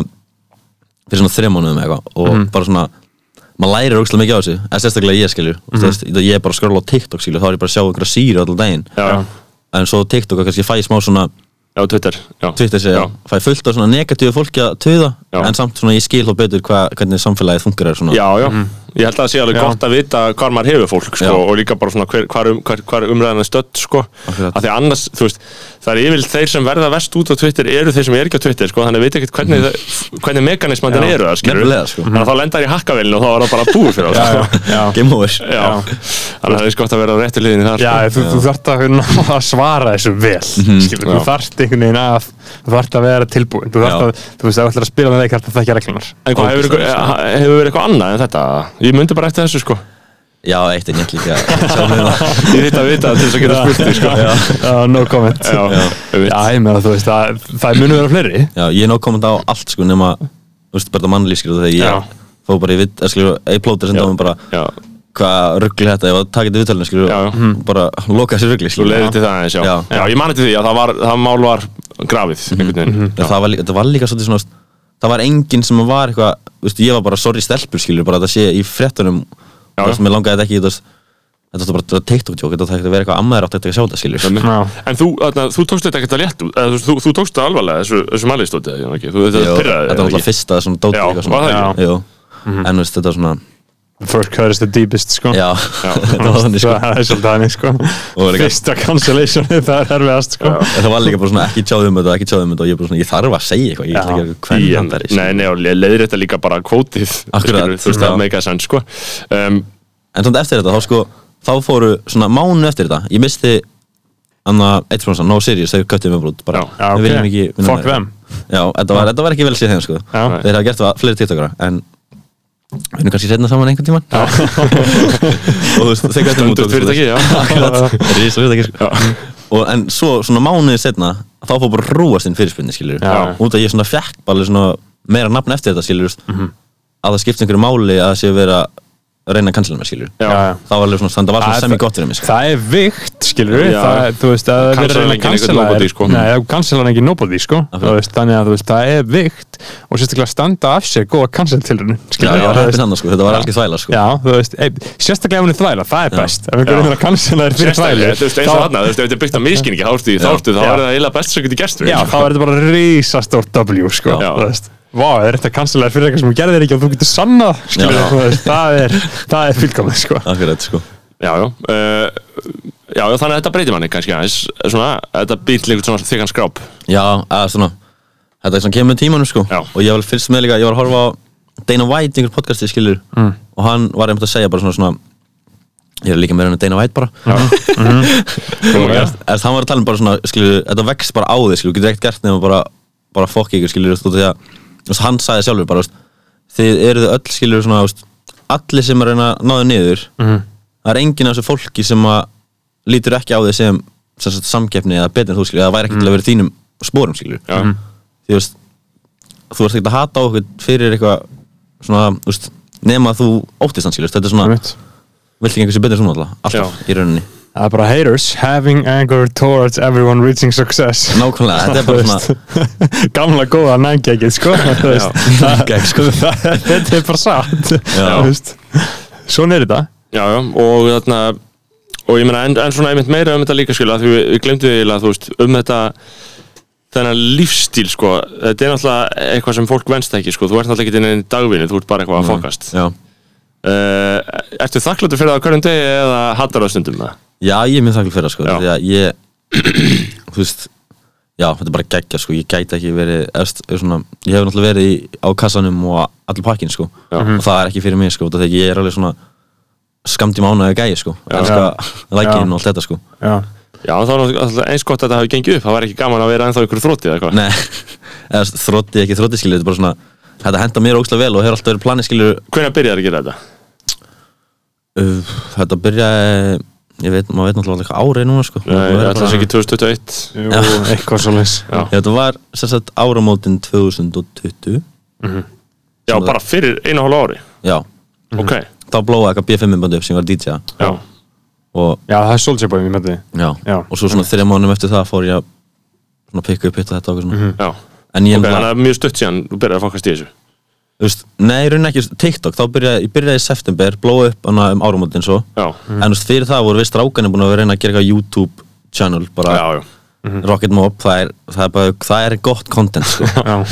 D: fyrir svona þrejum mánuðum eitthvað og
A: Mm.
D: bara svona, maður lærir ógstlega mikið á þessu en sérstaklega ég skilur mm -hmm. ég er bara að skrolla á TikTok skilur, þá er ég bara að sjá einhverja síri allan daginn
C: já, já,
D: en svo TikTok að kannski fæ smá svona
C: já, Twitter já.
D: Twitter segja,
C: Já.
D: fæ fullt af svona negatífu fólki að töða
C: Já.
D: en samt svona ég skil þá betur hva, hvernig samfélagið þungar er svona
C: Já, já, ég held að það sé alveg gott að vita hvar maður hefur fólk sko,
D: Já.
C: og líka bara svona hver, hvar, um, hver, hvar umræðan er stödd sko.
D: Akkurat.
C: að því annars, þú veist, það er yfirlega þeir sem verða verst út á Twitter eru þeir sem er ekki á Twitter sko, þannig að veit ekkert hvernig, mm. hvernig mekanismandin eru það, skilur
D: Nefnilega, sko.
C: þannig að þá lendar í hakkavélinu og þá er það bara búið fyrir það sko.
A: já,
D: game over
C: já. þannig að það er gott að vera á réttu liðinu þar
A: Já,
C: sko.
A: þú, þú þarft að, ná að svara þessu vel skilur, þú
C: Mhm. Já.
A: þarft einhvern veginn að þú þarft að vera tilbúin þú þarft
D: Já.
A: að, þú veist, ef þú ætlar að spila með leikart að þekkja reglunar
C: En hvað hefur, ykkur- eh, hefur verið eitthvað annað en þetta? Ég myndi bara eftir þessu sko
D: Já, eitt en ég líka Sjá um mig það
C: Ég þitt að vita það til þess að geta spurt því sko Já,
A: uh, no comment
C: já, einmitt.
A: Já, ég meina, þú veist, að, það munu vera fleiri
D: Já, ég er nóg komand á allt sko nema Þú veist, bara það mannlýs skilur þegar
C: Já.
D: ég Fó bara í vitt, skilur, ég plóta sem það var bara
C: já.
D: Hvað ruggli þetta, ég var að taka þetta viðtalinu skilur
C: Já, já.
D: og Bara loka þessi ruggli
C: Þú
D: skilur
C: leiðir til það eins, já Já,
D: Já.
C: ég mani til því að það, var, það mál var grafið einhvern veginn
D: En það var, líka- þetta var líka svolítið svona þú veist, Það var enginn sem var eitthvað Þú veist, ég var bara sorry stelpur skilur Bara að það sé í fréttunum
C: Já,
D: Það
C: já.
D: sem ég langaði þetta ekki þú veist, Þetta var bara TikTok tjók, þetta ætti að vera eitthvað ammaður átt að sjá þetta skilur
C: Þannig.
A: Já.
C: En þú, þarna, þú tókst þetta ekkert að létt út eða þú, þú, þú tókst það alvarlega þessu, þessu mælistóti Þú þetta
D: Jú,
C: pyrraði
D: Þetta var alltaf fyrsta svona dót
C: Já,
D: eitthvað
C: var það
D: svona.
C: ekki?
D: Jú. En þú veist, þetta var svona
A: First cut is the deepest, sko
C: Mhm.
D: Já, þetta var þannig sko
A: Það er svolítið þannig, sko
D: var líka-
A: Fyrsta cancellation, það er erfiðast, sko
D: En það var líka bara svona ekki tjáðum þetta, ekki tjáðum þetta og ég bara svona, ég þarf að segja eitthvað, ég ætla ekki að gera hvern hann
C: fyrst Nei, nei, og leiðir þetta líka bara kvótið skilur,
D: Akkurat,
C: Þú veist, það
D: já.
C: meika senn sko um,
D: En samt eftir þetta, þá sko, þá fóru svona mánu eftir þetta, ég misti anna, eitt spronsan, No Sirius, þau köttið mig bara út bara,
C: Já, já,
D: við
A: ok.
D: viljum ekki vinna
A: Fuck
D: með
A: them.
D: þetta. Já, þetta var, þetta var ekki vel sér þeim sko
A: Já.
D: Þeir hafa gert það fleiri tiktokara, en við erum kannski setna saman einhvern tíman og þú veist, þau köttið mig út
C: Dögt fyrir þetta ekki, já
D: ekki Rísa fyrir þetta
C: Já.
D: ekki sko og, En svo svona mánuði setna, þá fór bara rúast inn fyrirspunni skilur
C: Já.
D: Út að ég svona fekk bara alveg svona meira nafn eftir þetta skilur mm -hmm. Að það skipti einhverju máli að það sé verið að reyna að cancela mér skilur
C: Já.
A: Já, já.
D: Það var alveg svona, þannig að það var
A: Það er-
D: svona sem í gott fyrir mig sko
A: Það er vikt, skilur við
C: Já.
A: það, Þú veist, að það er
C: Cancelar
A: verið að
C: enginn einhvern
A: cancela
C: nobody,
A: þær.
C: sko.
A: Nei, það cancelar ekki nobody, sko Þú veist, Þannig að þú veist, það er vikt Og sérstaklega standa af sér góða cancel til henni
D: Já, ég var hættið þannig sko, þetta var alveg þvæla sko
A: Já, þú veist, ey, sérstaklega ef hún er þvæla, það er best Ef einhver
C: Já.
A: reynir að cancela þér fyrir þvælu
C: Sérstaklega, þú veist, eins og þarna, þú veist, ef þetta er byggt á miskinningi, þá ertu, þá ertu, þá
A: Já.
C: er það eiginlega best sem getur sko. gerst við.
A: Já, þá er þetta bara risastórt W, sko
C: Já.
A: Þú veist, vá, það er þetta cancela þér fyrir eitthvað sem hún gerðir ekki og þú getur sanna, skilur
D: Já.
A: þú veist, það er, það er fylgkomið, sko
D: Akkurat sko
C: Já, já, uh, já, já, þannig að þetta breytir manni kannski aðeins, svona, þetta býr líka svona þykkan skráp.
D: Já, að svona, þetta er svona kemur með tímanum sko
C: Já.
D: Og ég var fyrst með líka, ég
A: Mm.
D: var að horfa á Dana White í einhver podcasti skilur Og hann var einmitt að segja bara svona, svona ég er líka meira en að Dana White bara Eftir, hann var að tala um bara svona, skilur, þetta vext bara á þig, skilur, þú getur ekkert gert nema bara, bara fokk ykkur, skilur, þú veist, út af því að, þú veist, hann sagði sjálfur bara, þú veist, þið eruð öll, skilur, svona, þú veist, allir sem er að reyna að náðu niður, það er enginn af þessu fólki sem að lítur ekki á þig sem, sem sagt, samkeppni eða betur en þú, skilur, það væri ekki til að vera í þínum spórum, skilur,
C: Já. Mhm.
D: þú veist, þú ert ekkert að hata á okkur fyrir eitthvað, svona, þú veist, nema að þú óttist hann, skilur, þetta er svona,
A: Einmitt.
D: vilt ekki einhversu betur svona alltaf, alltaf, í rauninni.
A: Það er bara haters Having anger towards everyone reaching success
D: Nákvæmlega, þetta er bara svona
A: Gamla góða nængekið sko þú veist.
D: Nængekk, sko.
A: Það- Þetta er bara satt
D: Já.
A: Svona er þetta
C: Já, já, og þarna og ég meina, en, en svona einmitt meira um þetta líka skilja, því við, við glemdu eiginlega, þú veist, um þetta þennan lífstíl, sko þetta er náttúrulega eitthvað sem fólk venst ekki, sko þú ert náttúrulega ekki inn í dagvinni, þú ert bara eitthvað að fokast
D: Já,
C: Uh, ertu þakkláttur fyrir það á hverjum degi eða hattar það stundum það?
D: já ég er mjög þakklur fyrir það sko
C: Já.
D: Því að ég, þú veist Já, þetta er bara geggja sko, ég gæti ekki verið efst, svona, Ég hef náttúrulega verið í, á kassanum og allir pakkin sko
C: Já.
D: Og það er ekki fyrir mig sko, út af því að ég er alveg svona Skamdi mánuði gæi sko Elska lækinn og allt þetta sko
A: Já
C: Já, þá er náttúrulega eins gott að þetta hafi gengið upp það var ekki gaman að vera ennþá ykkur þrótti eða eitthvað
D: Nei, eða þú veist, þrótti ekki þrótti skilur, þetta er bara svona Þetta henda mér ógstlega vel og hefur alltaf verið planið skilur
C: Hvernig byrjar að gera þetta?
D: uh, Þetta byrjaði, ég veit, maður veit náttúrulega hvað árið núna sko
C: Nei, Eh,
D: Maður
C: það
D: er
C: er
D: bara-
C: kannski ekki 2021
A: Jú, eitthvað svo leys
C: Já.
D: Já, þetta var sem sagt áramótin 2020
C: Já, bara fyrir einu og hálf ári
D: Já,
C: Ok,
D: þá blóða eitthvað B5 bandi upp sem ég var DJ -a.
C: já,
D: og,
A: Já, það er Soldier Boy, ég með því
D: já.
A: Já.
D: og svo svona
C: Mm.
D: þrjá mánum eftir það fór ég að svona pikka upp hitt og þetta og eitthvað svona
C: já
D: En ég
C: Mhm. Ok,
D: okay,
C: þannig að
D: náttúrulega,
C: það er mjög stutt síðan þú byrjar að fokast í þessu
D: þú veist, nei, raunin ekki TikTok, þá byrjaði, ég byrjaði í september blóða upp hana um áramótin svo
C: Já,
D: en þú veist, fyrir það voru við strákanir búin að vera að reyna að gera eitthvað YouTube channel, bara
C: já, Mhm. já
D: Rocket Mob, það er, það er bara það er gott content, sko
A: Já,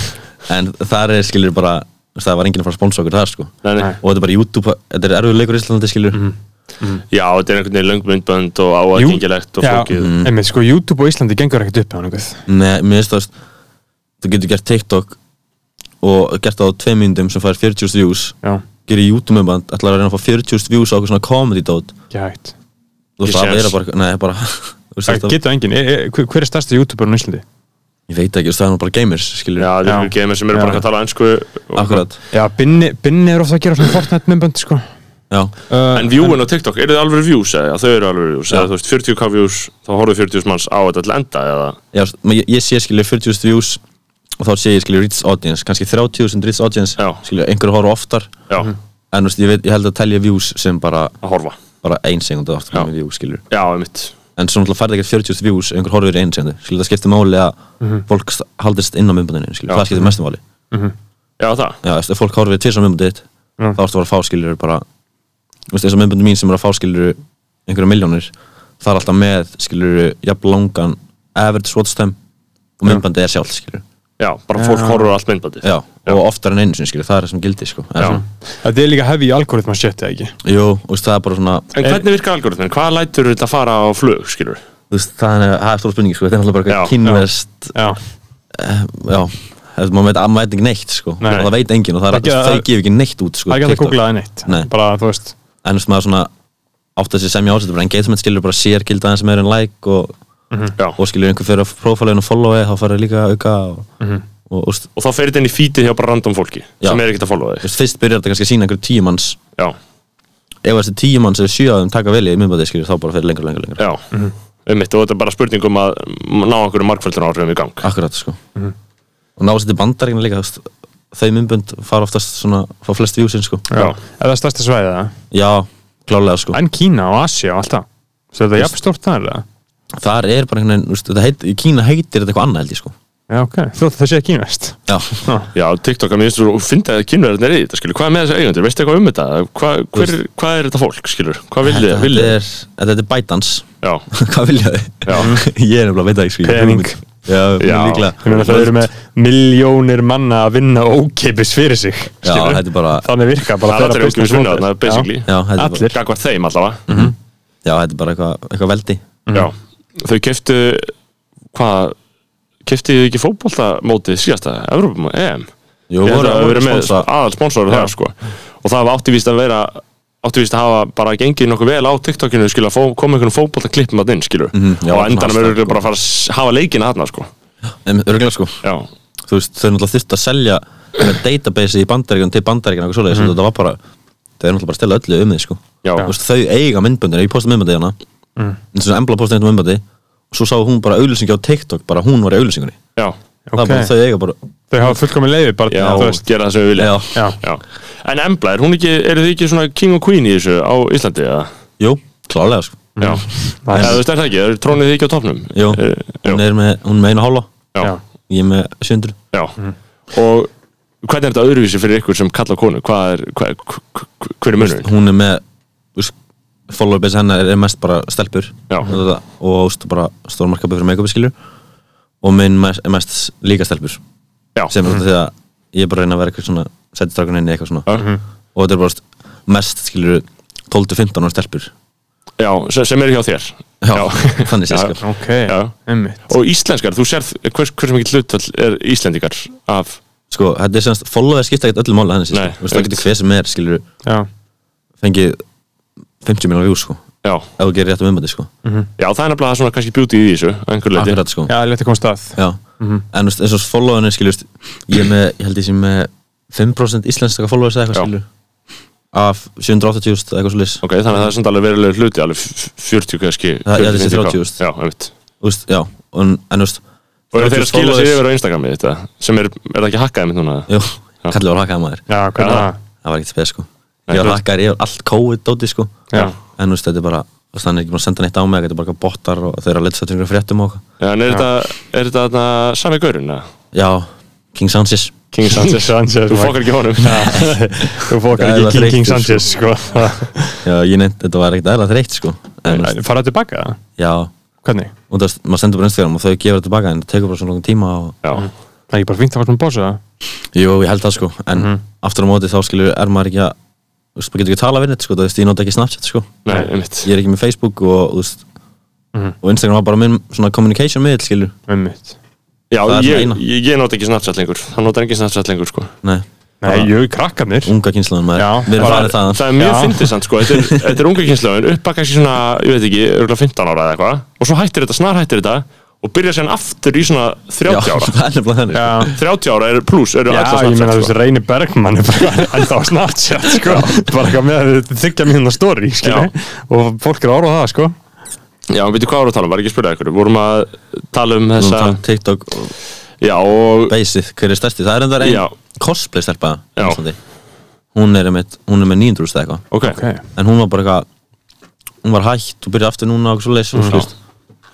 D: en þar er skilur bara, þú veist, það var enginn að fara að sponsa okkur þar, sko
C: Nei, nei.
A: Nei.
D: og þetta er bara YouTube, þetta er erfið leikur í Íslandi skilur
C: Mhm. Já, þetta er einhvern veginn löngmyndbönd og áaðgengilegt og
A: já,
C: flókið
D: Mm.
A: einmitt, sko, YouTube á Íslandi gengur ekkert upp á einhverð
D: Nei, mér finnst það þú getur gert TikTok og gert það á tveim myndum sem fær 40 views
A: Já,
D: gerir YouTube myndband, ætlar að reyna að fá 40 views á okkur svona comedy dot
A: ekki hægt
D: þú veist
C: Ekki
D: það
C: séns.
D: vera bara, nei, bara þú veist,
A: Það
D: þetta,
A: getur enginn, er, er, hver hver er stærsti YouTuber á Íslandi?
D: ég veit ekki, þú veist, það er nú bara gamers skilur,
C: Já, það
A: Já.
C: eru geimir sem eru bara
A: Já.
C: að tala ennsku og-
D: akkurat
A: Já, Binni, Binni er ofta að gera svona Fortnite myndbönd, sko
D: já,
A: uh,
C: En viewen á TikTok, eru þið alveg views eða? Þau eru alveg views, eða þú veist 40k views þá horfðu 40 manns á þetta til enda eða
D: já st- ég, ég sé skilur 40 views og þá sé ég skilur reach audience, kannski 30.000 reach audience
C: Já.
D: skilur, einhverju horfa oftar
C: Já,
D: en þú veist, ég, veit, ég held að telja views sem bara,
C: að horfa
D: bara ein segundu oft
C: Já.
D: komið views skilur
C: Já, einmitt
D: en svo náttúrulega færði ekkert 40 views ef einhver horfir í einu segundu skilur það skiptir máli að fólk st- haldist inn á myndbandinu skilur,
C: Já.
D: það skiptir mestum máli
C: Já, það
D: já, eftir, ef fólk horfir til svona myndbandið
A: Já.
D: þá ertu bara að fá skilur bara þú veist, eins og myndbandið mín sem er að fá skilur einhverja miljónir, það er alltaf með skilur jafn langan average watch time og myndbandið er sjálf skilur
C: Já, bara fólk horfur allt myndbandið
D: já, og oftar en einu sinni skilur, það er það sem gildi sko
C: Já.
D: en,
A: Þetta er líka hefði í algoritma shit, eða ekki?
D: jú, þú veist, það er bara svona
C: En hvernig virkar algoritmin? Hvað lætur þetta fara á flug, skilur?
D: þú veist, það er, það er stóra spurning sko, þetta er alltaf bara
C: Já.
D: eitthvað kynverst
A: Já,
D: já, eftir, maður veit, maður veit ekki neitt sko.
A: Nei.
D: og það veit enginn og það er,
A: Ekki að-
D: þau gefur ekki neitt út sko,
A: það er ekki hægt að
D: TikTok.
A: googla það neitt
D: Nei.
A: Bara, þú veist,
D: en þú veist, maður svona átt að sé semja ásett bara engagement skilur bara sér gilda aðeins meira en like og,
C: Já
D: og skilur einhver fyrir að prófælegin og followi þá farið líka að auka og,
A: Mhm.
D: og, og,
C: Og þá fer þetta inn í feedið hjá bara random fólki
D: Já.
C: sem er ekkert að followa
D: þú
C: þig
D: veist, fyrst byrjar þetta kannski að sína einhver tíu manns
C: Já,
D: ef þessi tíu manns eða sjö af þeim taka vel í minnbæði skilur þá bara fyrir lengra, lengra, lengra
C: já Einmitt, og þetta er bara spurning um að ná einhverjum markfældunar áhrifum í gang
D: akkurat sko
A: Mhm.
D: og ná sér til bandaríkina líka þú veist, þau minnbönd fara oftast svona fá flest vjúsin sko
C: Já,
A: eða stærsta svæðið það
D: já, klálega sko
A: En Kína og Asia og alltaf Svo er þetta jafn stórt þar, eða?
D: þar er bara einhvern veginn, þú veist, þetta heit, í Kína heitir þetta eitthvað annað held ég sko
A: Já, ok, þú ætti það sé að kínast
D: Já,
C: já TikTok að mér finnst þú finnst að kynverðin er í þetta, skilur Hvað er með þessi eigendur? Veistu eitthvað um þetta? Hvað, hver, hvað er þetta fólk, skilur? Hvað viljið þið?
D: þetta
C: Viljið
D: er, þetta er bætans
C: Já,
D: Hvað vilja þið?
C: Já.
D: Ég er nefnilega að veit það ekki sko, ég hef
A: Pening.
D: hugmynd. Já,
C: Já.
D: já. líklega
A: Ég meina það eru með miljónir manna að vinna ókeipis fyrir sig
D: Já,
A: skilurðu?
D: þetta er bara-
A: Þannig virka bara
C: það er
A: þeirra
C: allir
A: business
C: auðvitað vinna
A: model.
C: þarna, basically
D: Já, þetta er bara,
A: Allir.
C: Gagvart þeim allavega
D: Mhm, já, þetta er bara eitthvað, eitthvað veldi
C: Já, þau keftu hvað, keftu þau ekki fótboltamótið síðasta, Evrópum, EM
D: Jú,
C: Ég held
D: voru-
C: að það
D: voru
C: verið með
D: sponsa.
C: aðal sponsor það sko og það var átti víst að vera áttu víst að hafa bara gengið nokkuð vel á TikTokinu skilur, að fó- koma einhvern fótbolta klippum að inn skilur,
D: Mhm, já,
C: og á endanum
D: hashtag
C: eru
D: og-
C: bara að fara að s- hafa leikina þarna sko.
D: örgulega sko
C: já,
D: þú veist, þau náttúrulega þurftu að selja með database í bandaríkjum til bandaríkjum og svoleiðis, mm. þetta var bara þau er náttúrulega bara að stela öllu um því sko
C: Já.
D: Þú veist, þau eiga myndböndinu, ég posta myndböndi hérna mm. eins og embla posta hérna myndböndi og svo sá hún bara auglýsingi á TikTok bara hún var í auglýsingunni
C: já,
D: það
A: Ok.
D: er bara þau eiga bara
A: Þau hafa fullkomið leiði bara
C: já,
A: þú veist,
C: gera það sem við vilja
D: Já.
A: Já.
C: en Embla, er hún ekki, eru þið ekki svona king og queen í þessu á Íslandi eða?
D: jú, klálega sko
C: já,
A: Nice.
C: eða þú veist er það ekki, er trónið þið ekki á topnum
D: jú,
C: Eh,
D: hún er með, hún er með einu hálfa
C: já,
A: Já.
D: ég er með 700
C: já. og hvernig er þetta öðruvísi fyrir ykkur sem kalla konu hvað er, hvað, hver, hver er munurinn?
D: hún er með þú veist, follower base hennar er mest bara stelpur
C: Já.
D: og þú veist bara stór markabu fyrir make-upi skilur og minn mest, er mest líka stelpur
C: já,
D: sem er þetta því að ég er bara að reyna að vera eitthvað svona setjastrakun inn í eitthvað svona
C: Já.
D: og þetta er bara st- mest skilur 12-15 ára stelpur
C: já sem, sem er hjá þér
D: Já, þannig sé,
C: Já.
D: sko.
A: Ok,
C: Já.
A: einmitt
C: og íslenskar, þú sérð hvers, hversu mikið hlutfall er íslendingar af
D: sko, þetta er semst, follower skipta ekkert öllu máli þannig sé,
C: Nei,
D: sko. Þú veist, það
C: einmitt.
D: getur hver sem er skilur
A: Já,
D: fengið 50 miljonar views sko ef
C: já,
D: þú gerir rétt um umbæti sko
C: já það er nefnilega svona kannski beauty í þessu að einhverju leyti.
D: akkurat sko
A: já, létt að komast að
D: Já, en þú veist, eins og followerinu skilur veist, ég er með, ég held ég sem með 5% íslenska followers eða
C: Já.
D: eitthvað skilur af 780.000 eða eitthvað svo
C: ok, þannig að það er samt alveg verulegur hluti alveg f- 40 kannski
D: Það- já, þessi
C: 40,
D: 30
C: já, já, einmitt
D: leis Já, en, en þú veist
C: og eru þeir að
D: 30
C: skila sér
D: followers-
C: yfir á Instagrami þetta sem er, er það ekki hakkaði mitt núna
D: Jú, kallið var hakkaði maður
A: Já, hvernig
C: Já.
A: það?
D: það var ekkert spes sko
C: Nei,
D: ég var
C: þú-
D: hakkaður, ég var allt kóið dóti sko
A: Já.
D: en þú veist þetta er bara þú veist, hann er ekki búin að senda neitt á mig þetta er bara eitthvað bottar og þeir eru að leita sættur ykkur fréttum og eitthvað.
C: Já, en er þetta, er þetta þarna sami gaurinn eða?
D: já, King Sanchez
C: King Sanchez,
A: Sanchez,
C: þú
A: Mike.
C: fokkar ekki honum
A: Þú fókar
D: Það
A: ekki
D: er
A: King King
D: þreyttur,
A: Sanchez, sko
D: já, ég nefnt, þetta var ekkert aðlega þreytt sko en þú veist,
A: Faraðu tilbaka það?
D: já, og
A: Hvernig?
D: þú veist, maður sendur bara Instagram og þau gefur þetta tilbaka en það tekur bara svona langan tíma og
C: já,
A: Það er ekki bara fínt að fara svona bósa
D: jú, ég held það sko en
C: Mhm.
D: aftur á móti þá skilur er maður ekki að þú veist, maður getur ekki að tala við neitt sko þú veist, ég nota ekki Snapchat sko
C: nei, einmitt
D: ég er ekki með Facebook og þú veist
C: Mhm.
D: og Instagram var bara minn svona communication miðl skilur
A: Einmitt
C: já,
D: það er svona
C: ég,
D: eina.
C: ég, ég nota ekki Snapchat lengur hann nota ekki Snapchat lengur, sko
D: nei,
A: Nei, jú, krakkanir
D: unga kynslan maður
A: Já,
D: við erum
A: bara-
D: farið þaðan
C: það er mjög
A: Já.
C: fyndið samt, sko þetta er, þetta er unga kynslaun, upp að kannski svona ég veit ekki, örgulega 15 ára eða eitthvað og svo hættir þetta, snar hættir þetta og byrja sérna aftur í svona 30
D: Já,
C: ára
D: það er nefnilega þannig
A: Já
C: 30 ára er pluss, eru
A: Já,
C: allir á
A: ég meina
C: Snapchat,
A: þú
C: sko.
A: veist, Reyni Bergmann er bara enda á Snapchat, sko Bara eitthvað með að þykja mínuna story, skilur Og fólk er að orða það, sko
C: Já, en veitu hvað voru að tala um, var ekki að spyrja ykkur Vorum að tala um
D: Nú
C: þessa
D: tala um TikTok og
C: Já, og
D: Basið, hver er stærsti Það er enda
C: Já.
D: ein cosplay stelpa
C: Já.
D: Hún er með, hún er með 900 eða eitthvað
C: ok,
D: En hún var bara eitthvað Hún var hætt og byrjaði aftur núna og svo leys og svo leys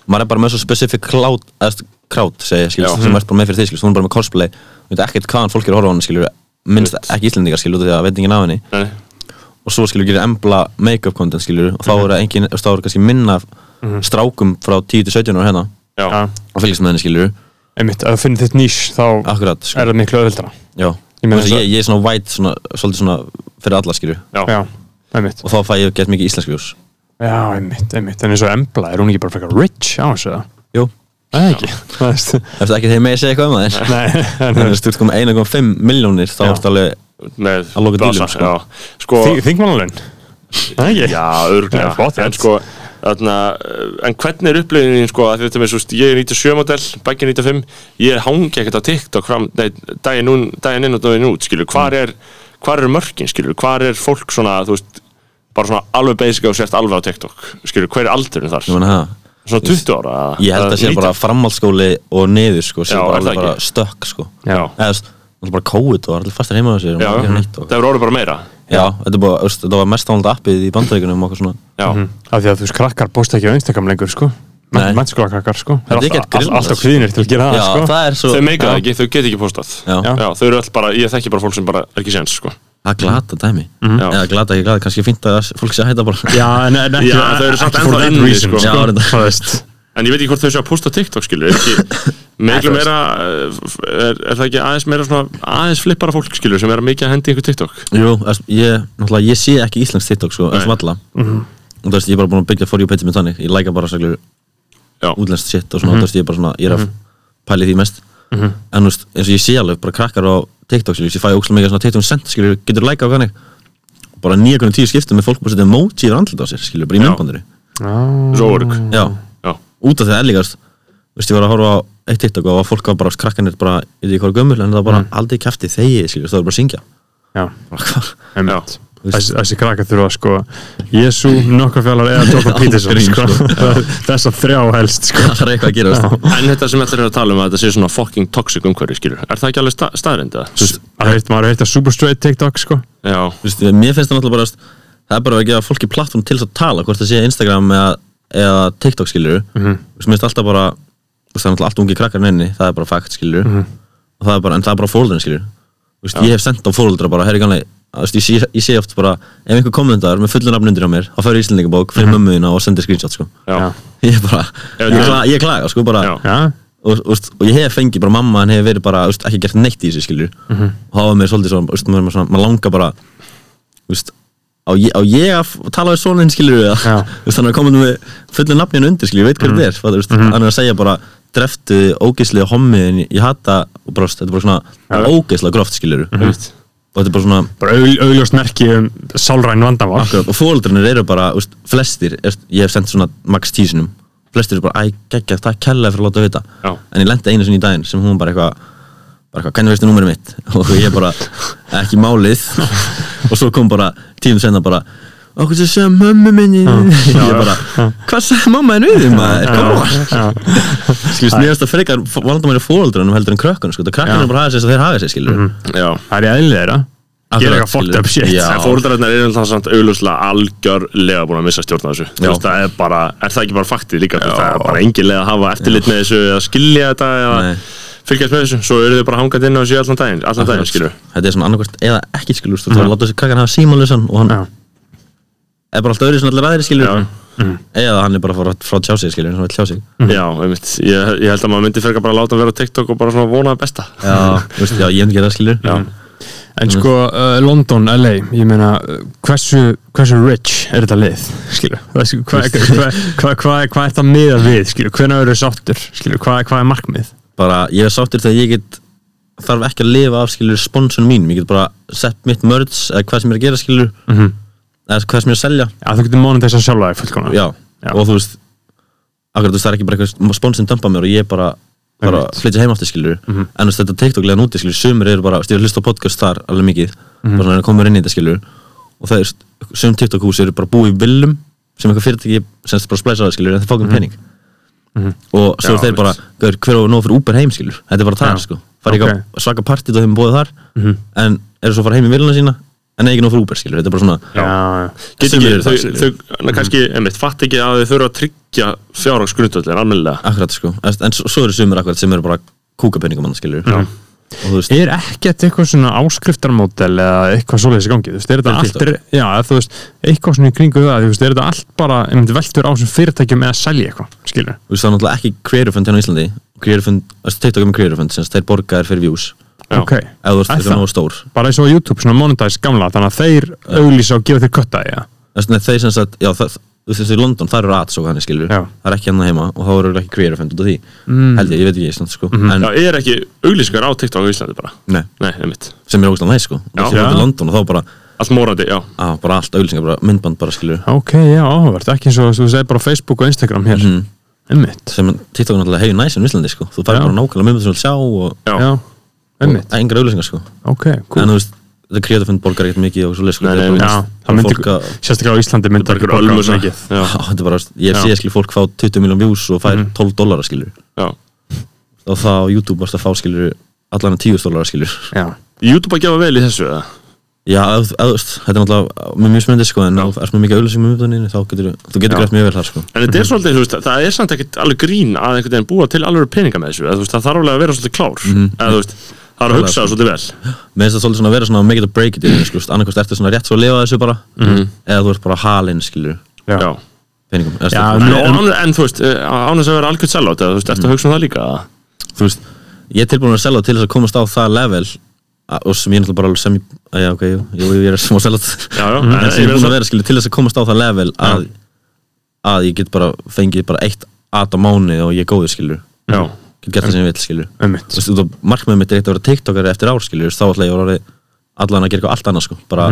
D: Maður er bara með svo specific cloud eða crowd, segja, skilur,
C: Já.
D: sem er bara með fyrir þig, skilur, hún er bara með cosplay Þú veit ekkert hvaðan fólk er að horfa á henni, skilur minnst ekki íslendingar, skilur, út af því að veitingin af henni
C: Nei,
D: og svo skilur gerir embla make-up content, skilur og þá eru engin, þá eru kannski minna af strákum frá 10 til 17 ára hérna
C: já,
A: Já
D: og fylgjast með henni, skilur
A: Einmitt, ef þú finnir þitt nýs, þá
D: akkurat, sko.
A: er það miklu öðvildra
D: Já,
A: Ég
D: ég,
A: meina
D: ég,
A: svo-
D: ég er svona væt svona, svolítið svona fyrir alla skilju
C: já,
A: Já, einmitt
D: og þá fæ ég gett mikið íslensk ljós
A: Já, einmitt, einmitt En eins og Embla, er hún ekki bara frekar rich á þessu eða?
D: Jú,
A: Nei, ekki Þú veist,
D: eftir ekki þegar með að segja eitthvað um það en
A: Nei, en þú
D: þannig að
A: veist
D: þú ert komið 1,5 miljónir þá
A: Já.
D: ertu alveg
C: Með
D: Að loka
C: blasa,
D: dílum, sko.
C: Já, sko
A: Þingmannalun Nei, ekki
C: Já, örglega
A: Já, flott,
C: En
A: já.
C: sko, þarna eh, En hvernig er upplifunin, sko, að þetta með svo st- Ég er 97 model, bækja 95 Ég hangi ekkert á TikTok fram Nei, daginn, núna, daginn inn og daginn út, skilur Hvar
D: Mm.
C: er, hvar er mörkin, skilur Hvar er fólk svona, þú veist Bara svona alveg basic og sért alveg á TikTok Skilur, hver er aldurinn þar?
D: ég, meina, ha,
C: Svona 20 ára?
D: ég held að sé bara framhaldsskóli og niður sko, sé
C: Já, er
D: bara,
C: það
D: alveg bara
C: ekki?
D: stökk sko
C: Já.
D: eða þú veist, það er bara kóið og allir fastir heima á sér
C: Já, Mhm.
D: og maður gerir neitt og-
C: það er orðið bara meira
D: Já, þetta er bara, þú veist, þetta var mest ánald appið í bandaríkunum og okkur svona
C: Já,
A: Af því að þú veist, krakkar posta ekki á Instagram lengur, sko
D: Nei.
A: Mennskóla krakkar, sko Það
D: Þetta er
A: er
D: ekki
A: alltaf,
D: grillað,
A: alltaf
D: sko.
A: kvíðinir til að gera
D: Já,
A: það, sko
D: það er svo,
C: þau Ah, meika það ekki, þau get ekki postað
D: Já. Já.
C: þau eru alltaf bara, ég þekki bara fólk sem bara er ekki séns sko.
D: það glata dæmi
C: Já.
D: eða glata ekki glata, kannski fínt að fólk sé að hætta bara
A: Já, en, en ekki,
C: Mm-hmm. Já, þau eru samt
A: ekki for
C: ennþá
A: that
C: inni,
A: reason,
C: sko.
A: sko
D: Já, reyndar.
A: Það veist
C: en ég veit ekki hvort þau séu að posta TikTok skilur ekki, meiklu meira eh, f- er, er það ekki aðeins meira svona aðeins flippara fólk skilur sem er að mikið að hendi einhver TikTok
D: Jú, þú veist, ég, náttúrulega, ég sé ekki íslensk TikTok sko,
C: Nei. Mm-hmm.
D: eftir valla og þú veist, ég er bara búin að byggja for you page minn þannig ég læka bara svolítið
C: Já.
D: útlenskt shit og svona, þú veist, ég er bara svona, ég er að pæli því mest en þú veist, eins og ég sé alveg bara krakkar á TikTok, skilur, ég fæ ókslega mikið svona TikTok sent, skilur, getur læka á hvernig bara 9.10 skiptum með fólk búið að setja emoji yfir andlut á sér, skilur, bara í
C: Já. Mhm.
D: myndbandinu
C: Svo org
D: Já,
C: Já.
D: út af því að ærlíkast Þú veist, ég var að horfa á eitt eitt og var fólk að bara krakkanir bara, ég veit ekki hvað er gömul en það bara aldrei kæfti þegi, skilur, það var bara að syngja
A: Já,
D: bara hvað,
A: einmitt
D: Veist-
A: Þessi þessi krakkar þurfa sko Jésu, nokkar fjallar eða Tóka Pítursson
D: Grín,
A: sko.
D: sko.
A: Þess að þrjá helst sko.
D: það er eitthvað að gera veist.
C: En þetta sem þetta er að tala um að þetta sé svona fucking toxic umhverfi, skilur Er það ekki alveg sta staðrind, eða?
A: Maður heitt- maður heitt að Super Straight TikTok sko.
C: Já,
D: Þú veist, mér finnst það náttúrulega bara veist, það er bara að gefa fólki plattform til þess að tala hvort það sé Instagram eða, eða TikTok skilur mm
C: Mhm.
D: -hmm. mér finnst alltaf bara þú veist, það er náttúrulega allt ungi krakkar inni það er bara fakt skilur
C: Mhm.
D: og það er bara, en það er bara fóröldurinn skilur veist, ég hef sendt á fóröldra bara herri ganlega Veist, ég, sé, ég sé oft bara, ef einhver kommentar með fullu nafn undir á mér, þá fer ég íslendingabók fyrir mm mömmuðina og sendir screenshot sko.
C: Mhm. já, já,
D: ég er bara,
C: Já,
D: ég,
C: já.
D: kla, ég klaga sko, bara,
C: já,
A: Já,
D: og, og, veist, og ég hef fengið bara mamma hann hefur verið bara veist, ekki gert neitt í þessu skilur og það var mér svolítið svona, veist, maður, maður svona maður langar bara veist, á, ég, á ég að f- tala við svona hinn skilur við
A: Já.
D: þannig að komin með fullu nafninu undir skilur ég veit hver þetta er fattar, veist, hann er að segja bara dreftu ógeislega hommiðin ég hata og brost þetta er bara svona ógeislega gróft skilur
C: Einmitt.
D: og þetta er bara svona
A: bara augl- augljóst merki um sálræn vandamál
D: Akkurat, og fóreldrinir eru bara, veist, flestir er, ég hef sendt svona max tísinum flestir eru bara, æ, geggja, það er kellaði fyrir að láta vita
C: Já.
D: en ég lendi einu sinni í daginn sem hún bara eitthvað bara eitthvað, hvernig veistu númerið mitt og ég bara, ekki málið og svo kom bara, tíum senna bara okkur sem segja mömmu minni ég bara, hvað sagði mamma henni við þig maður, come on skilvist, mér finnst það frekar vandamæri fóreldrinum heldur en krökkunum, sko, það
A: Já.
D: krakkanum bara hafa sér þess að þeir hafa sér, skilur
C: já.
A: Það er í eðlið þeirra Gera
D: Akkurat,
A: eitthvað fucked
D: skilur.
A: up shit
D: Já.
C: En fóreldrarnar eru þannig samt augljóslega algjörlega búin að missa stjórn á þessu Þú
D: Já.
C: veist, það er bara, er það ekki bara faktið líka Þú veist, það er bara engin leið að hafa eftirlit með þessu eða skilja þetta eða
D: Nei.
C: fylgjast með þessu svo eru þau bara hangandi inn á þessu í allan daginn allan daginn, skilju
D: þetta er Mm. svona annarkvært eða ekki skilur þú veist, þá láta þessi krakkan hafa símalösan og hann
A: Já.
D: er bara alltaf öðru sem allir aðri skilur
C: Já.
D: eða hann er bara frá, frá tjá sig skilur sem vill tjá sig
C: Já, einmitt, ég, ég held að maður myndi frekar bara láta hann vera á TikTok og bara svona vona það besta
D: já, þú veist, já, ég myndi gera það skilur já.
A: En sko, uh, London, LA, ég meina, uh, hversu, hversu rich er þetta lið, skilju? Hvað hva, hva, hva, hva, hva er þetta miða við, skilju? Hvernig eru sáttur, skilju? Hvað hva er markmið?
D: bara ég er sáttur þegar ég get þarf ekki að lifa af skilur sponsun mín ég get bara sett mitt mörds eða hvað sem ég er að gera skilur
A: Mhm.
D: eða hvað sem ég er að selja
A: Að þú getur mónið þess að sjálfa þig fullkomna.
D: já.
A: Já.
D: og þú veist akkurat, þú veist, það er ekki bara eitthvað sponsin dömpa mér og ég bara bara
A: Einmitt. Mhm.
D: flytja heim aftur skilur en þú veist, þetta TikTok leðan úti skilur sumir eru bara, þú veist, ég hlusta á podcast þar alveg mikið
A: Mhm.
D: bara svona komur inn í þetta skilur og það er, sum TikTok hús eru bara búið í villum sem eitthvað fyrirtæki sem þetta bara splæsa á það skilur en það fá ekki
A: Mhm.
D: pening og
C: Já,
D: svo eru þeir bara, gaur, hver á nóg fyrir Uber heim skilur þetta er bara það
A: Já.
D: sko, fara ekki
A: Ok. Mhm.
D: á svaka partít og þeim bóðið þar en eru svo að fara heim í villuna sína en eiga nóg fyrir Uber skilur, þetta er bara svona
A: Já,
C: Get
D: Sumir
C: ekki,
D: eru það,
C: þau,
D: skilur.
C: þau, þau kannski,
D: Mhm.
C: einmitt, fatt ekki að þau þurfa að tryggja fjárhagsgrundvöldin almennilega
D: akkurat sko, en en svo svo eru sumir akkurat sem eru bara kúkapenningum annars skilur Já. og þú veist,
A: Er ekkert eitthvað svona áskriftarmódel eða eitthvað svoleiðis í gangi, þú veist, er þetta
D: Fyrir
A: allt,
D: TikTok?
A: er, já, eða þú veist, eitthvað svona í kringu það, þú veist, er þetta allt bara, einmitt, veltur á þessum fyrirtækjum eða selja eitthvað, skilju?
D: þú veist það er náttúrulega ekki creator fund hérna á Íslandi creator fund, þú veist, TikTok er með creator fund sem sagt, þeir borgaðir fyrir views
C: Já.
A: Ok.
D: ef þú veist
A: Er
D: þeir
A: það?
D: náðu stór
A: Bara eins og á YouTube, svona monetize gamla, þannig að þeir auglýsa og gefa þeir kötta, já.
D: Þess vegna þeir sem sagt, já, það, þú veist þessi í London, það eru ads og hannig skilur
A: Já.
D: það er ekki hann heima og þá eru ekki creator fund út af því mm. held ég, ég veit ekki, svona, sko en,
C: Já, er ekki auglýsingar á TikTok á Íslandi bara
D: nei,
C: Nei, einmitt,
D: sem er ógæslega næ sko og
C: Já.
D: það er
A: Já.
D: í London og þá bara,
C: allt morandi, já
D: á, bara allt auðlýsingar, bara myndband bara skilur
A: Ok, já, áhugavert, ekki eins og þú segir bara á Facebook og Instagram hér
D: Mhm.
A: mm. Einmitt
D: sem TikTok er náttúrulega hefur næsinn í Íslandi sko þú
A: Já.
D: fær bara nákvæmlega myndband sem þú vilt sjá og,
C: Já.
A: Já, einmitt,
D: og engar auðlýsingar sko
A: ok, cool
D: en þú veist, þetta creator fund borgar ekkert mikið og svo sko,
C: Nei,
D: þetta er
C: nei,
D: bara,
A: Já,
D: veist,
A: það myndi,
D: fólk að-
A: sérstaklega á Íslandi myndi ekki borga
C: Ölmusa.
A: mikið.
C: Já,
D: Já, þetta er bara, ég sé skilur fólk fá 20 miljón views og fær
A: Mhm.
D: 12 dólarar skilur
C: já
D: og það á YouTube varst að fá skilur allan að 10 dólarar skilur
A: Já,
C: YouTube að gefa vel í þessu eða?
D: Já, ef- ef þú veist, þetta er náttúrulega mjög mjög smöndið sko en ef þú ert með mikið auðlýsing með myndunni þá getur þú getur grætt mjög vel þar sko
C: En þetta er svolítið, þú veist, það er samt ekkert alveg grín að einhvern veginn búa til alveg peninga með þessu eða, þú veist, Það þarf alveg að vera svolítið klár eða, þú veist, Það er að hugsa svolítið vel
D: Mér finnst það svolítið svona að vera svona make it or break it í raun, sko, annarkost ertu svona rétt svo að lifa þessu bara eða þú ert bara halinn skilur
A: já,
C: Já.
D: peningum eða,
A: Mhm. Já,
D: stöðum.
C: En,
A: En-
C: en, en þú veist, eh, án þess að vera algjörð sellátt Þú veist, ertu að hugsa um það líka eða?
D: þú veist, ég er tilbúin að selja til þess að komast á það level að- og sem ég er náttúrulega bara alveg sem að, já, ok, jú, jú, jú, ég er smá selja
C: Já, já,
D: en
C: en ég
D: sem ég er Mhm. búin
C: meina
D: að vera skilur til þess að komast á það level að, að ég get bara fengið bara eitt at á mánu og ég er góður skilur
C: Já,
D: get gert það sem ég vil skilur
A: einmitt
D: Þú veist, út af markmiðum mitt er eitt að vera tiktokari eftir ár skilur, þú veist, þá ætla ég að vera orðið- allan að gera eitthvað allt annað sko bara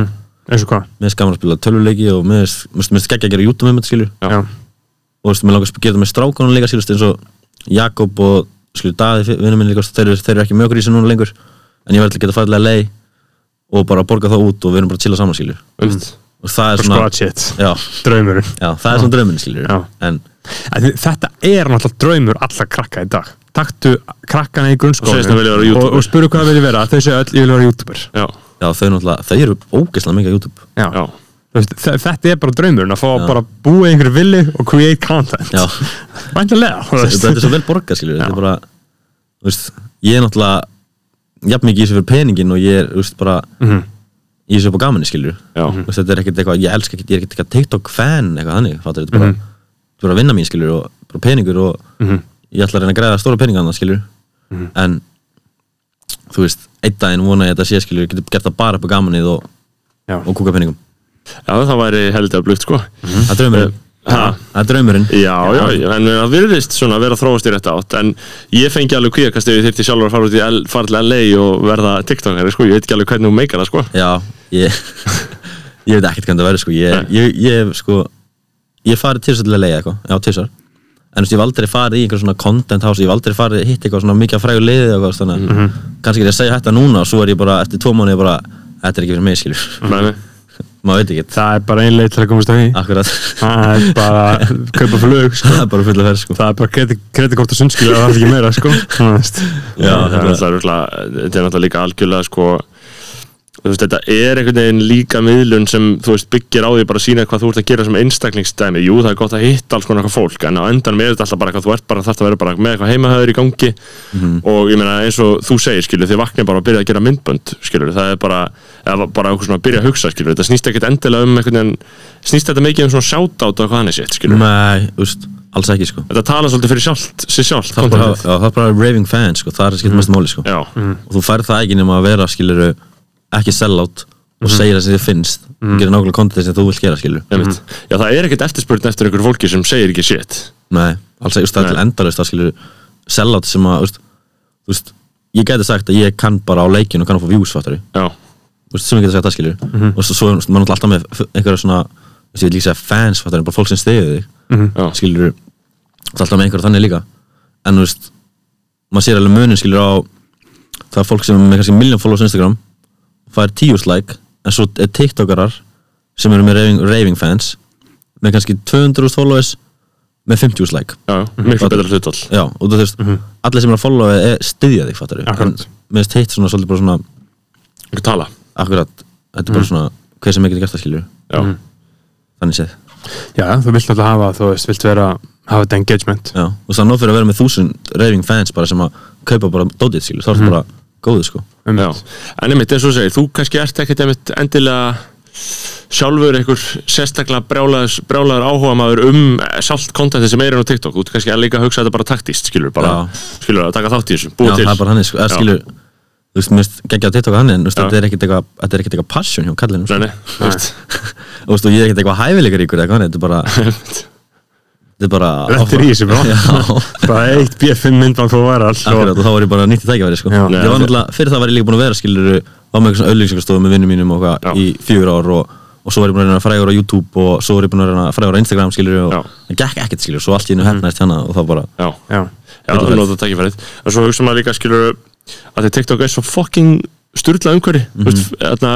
A: eins og hvað
D: mér finnst gaman að spila tölvuleiki og mér finnst- mér finnst- mér finnst geggja að gera YouTube með þetta skilur
C: Já.
A: Já.
D: og þú veist, mér langar að gera það með strákunum líka skilur eins og Jakob og skilur Daði vinnum minn líka, þú veist, þeir, eru- þeir eru ekki mjög grísi núna lengur en ég verði til að geta fæðilega lei og bara borga það út og við erum bara að chilla saman skilur
C: Einmitt.
D: og það er svona,
A: Squatch it,
D: já,
A: draumurinn
D: já, það er svona drömmin skilur
A: Já.
D: en
A: En þi- Þetta er náttúrulega draumur allra krakka í dag Taktu krakkana í
C: Og segist að vilja vera
A: grunnskólanum
C: YouTuber.
A: og, og spuru hvað það vilja vera Þau segja öll, ég vil vera youtuber
C: Já,
D: já, þau náttúrulega, þau eru ógeðslega mikið á YouTube
A: Já.
C: já,
A: Þú Veist, þe- þetta er bara draumurinn að fá að
D: Já.
A: bara búa einhver villi og create content
D: Já.
A: Væntanlega, þú veist.
D: þetta er svo vel borgað skilur þetta er bara, þú veist, ég er náttúrulega jafn mikið í þessu fyrir peningin og ég er, þú veist, bara í þessu upp á gamanni skilur
C: Já.
D: Þú veist, þetta er ekkert eitthvað, ég elska ekkert, ég er ekkert eitthvað TikTok fan eitthvað þannig, fattur þetta er bara þetta er bara vinna mín skilur og bara peningur og ég ætla að reyna að græða stóra peninga annað skilur en þú veist, einn daginn vona ég að þetta sé skilur getur gert það bara upp á gamanið og,
A: Já.
D: og kúka peningum
C: já, það væri heldur að blugt sko
D: það er draumurinn,
C: Ha?
D: það er draumurinn
C: Já, já, já, en eh, það virðist svona að vera að þróast í rétt átt en ég fengi alveg kvíakast ef ég þyrfti sjálfur að fara út í L, fara til LA og verða TikTokari, sko, ég veit ekki alveg hvernig hún meikar það, sko
D: Já, ég Ég veit ekkert hvernig það verður sko Ég, ég, ég sko Ég farið til þess að leiða eitthvað, já til þessar En þú veist, ég hef aldrei farið í einhver svona content house Ég hef aldrei farið hitt eitthvað svona mikið að frægu leiði eitthvað, þú veist, Þannig að kannski er ég að segja þetta núna Og svo er ég bara, eftir tvo mánuði bara Þetta er ekki fyrir mig, skilur
C: Nei, nei.
D: Maður veit ekki,
A: Það er bara einlega til að komast að því
D: akkurat
A: Það er bara að kaupa flug sko.
D: Það er bara fulla ferð, sko
A: Ah. Það er bara kreditkort og sundskilu Það er ekki meira sko. Þú veist.
C: það
D: Já,
C: er
D: þetta-
C: náttúrulega, örugglega- þetta er náttúrulega líka algjörlega, sko þú veist, þetta er einhvern veginn líka miðlun sem, þú veist, byggir á því bara að sína hvað þú ert að gera sem einstaklingsdæmi Jú, það er gott að hitta alls konar eitthvað fólk en á endanum er þetta alltaf bara eitthvað, þú ert bara þarft að vera bara með eitthvað heimahöður í gangi
D: Mhm.
C: og ég meina, eins og þú segir, skilur, þið vaknið bara að byrja að gera myndbönd, skilur, það er bara eða bara eitthvað svona að byrja að hugsa, skilur þetta snýst ekkit endilega um einhvern veginn snýst þetta mikið um svona shoutout og eitthvað hann er sitt, skilur
D: Nei, þú veist, alls ekki, sko
C: Þetta tala svolítið fyrir sjálft, sér sjálft
D: Það er bara,
C: contentið.
D: já, það er bara raving fans, sko Það er skilt mest máli, sko
C: Já,
D: og þú færð það ekki nema að vera skilur ekki sellout og segir það sem þið finnst og gera nákvæmlega kontið sem þú vilt gera skilur
C: einmitt. Já, það er ekkert eftirspurn eftir einhverju fólki sem segir ekki shit
D: nei, alls ekki, þú veist, það er til endalaust það skilur sellout sem að, þú veist, þú veist ég gæti sagt að ég kann bara á leikin og kann að fá views fattari,
C: Já,
D: þú veist, sem ég gæti sagt það skilur og svo, svo er maður náttúrulega alltaf með f- einhverja svona, þú veist, ég vil líka segja fans fattari, bara fólk sem stiðið þig
C: já,
D: skilur, það er alltaf með einhverja þannig líka en þú veist, maður sér alveg munin skilur á það er fólk sem er með kannski miljón followers á Instagram fær tíus like en svo er tiktokarar sem eru með raving, raving fans með kannski 200.000 followers með 50.000 like
C: já, miklu betra hlutall
D: já, og þú veist, allir sem eru að followa er styðja þig, fattar við
A: Akkurat.
D: með hitt svona, svolítið bara svona,
C: Einhver tala
D: akkurat þetta er bara svona, hver sem ekki er gert það skilur
C: Já,
D: þannig séð,
A: Já, þú vilt alltaf hafa þú veist, vilt vera hafa þetta engagement
D: já, og það er nóg fyrir að vera með þúsund raving fans bara sem að kaupa bara dótið skilur, þá er
C: Mhm.
D: þetta bara góðu sko
A: um
C: já En einmitt, eins og þú segir, þú kannski ert ekkert einmitt endilega sjálfur einhver sérstaklega brjálaður, brjálaður áhuga maður um sált kontenti sem er enn á TikTok Þú ert kannski að líka að hugsa þetta bara taktíst, skilur bara,
D: Já.
C: skilur að taka þátt í þessu, búið
D: já,
C: til
D: það er bara hann sko, eða
C: Já.
D: skilur þú veist, mér finnst geggjað að TikTok hann en þú veist,
C: Já.
D: þetta er ekkert eitthvað þetta er ekkert eitthvað passion hjá kallinum sko.
C: Nei, nei, þú veist
D: og þú veist, og ég er ekkert eitthvað hæfileikar ykkur eitthvað, nei, þetta er bara þetta er bara
A: Þetta er í þessu bara
D: Já.
A: Bara eitt B5 myndbann fór sko. var all
D: Akkurat, og þá var ég bara nýtt í tækifæri sko.
A: Já.
D: ég
C: Nei,
D: var náttúrulega, fyrir það var ég líka búin að vera skilur var með eitthvað auðlýsingarstofu með vinnum mínum og
C: Já.
D: hvað í fjögur ár og, og svo var ég búin að reyna frægur á YouTube og svo var ég búin að reyna frægur á Instagram skilur og
C: Já.
D: það gekk ekkert skilur, svo allt í einu hefnaðist hérna og þá bara,
C: Já,
A: Já,
C: já það er notað tækifærið En svo hugsa maður líka, skilur að því TikTok er svo fucking styrla umhverfi mm veist, þarna,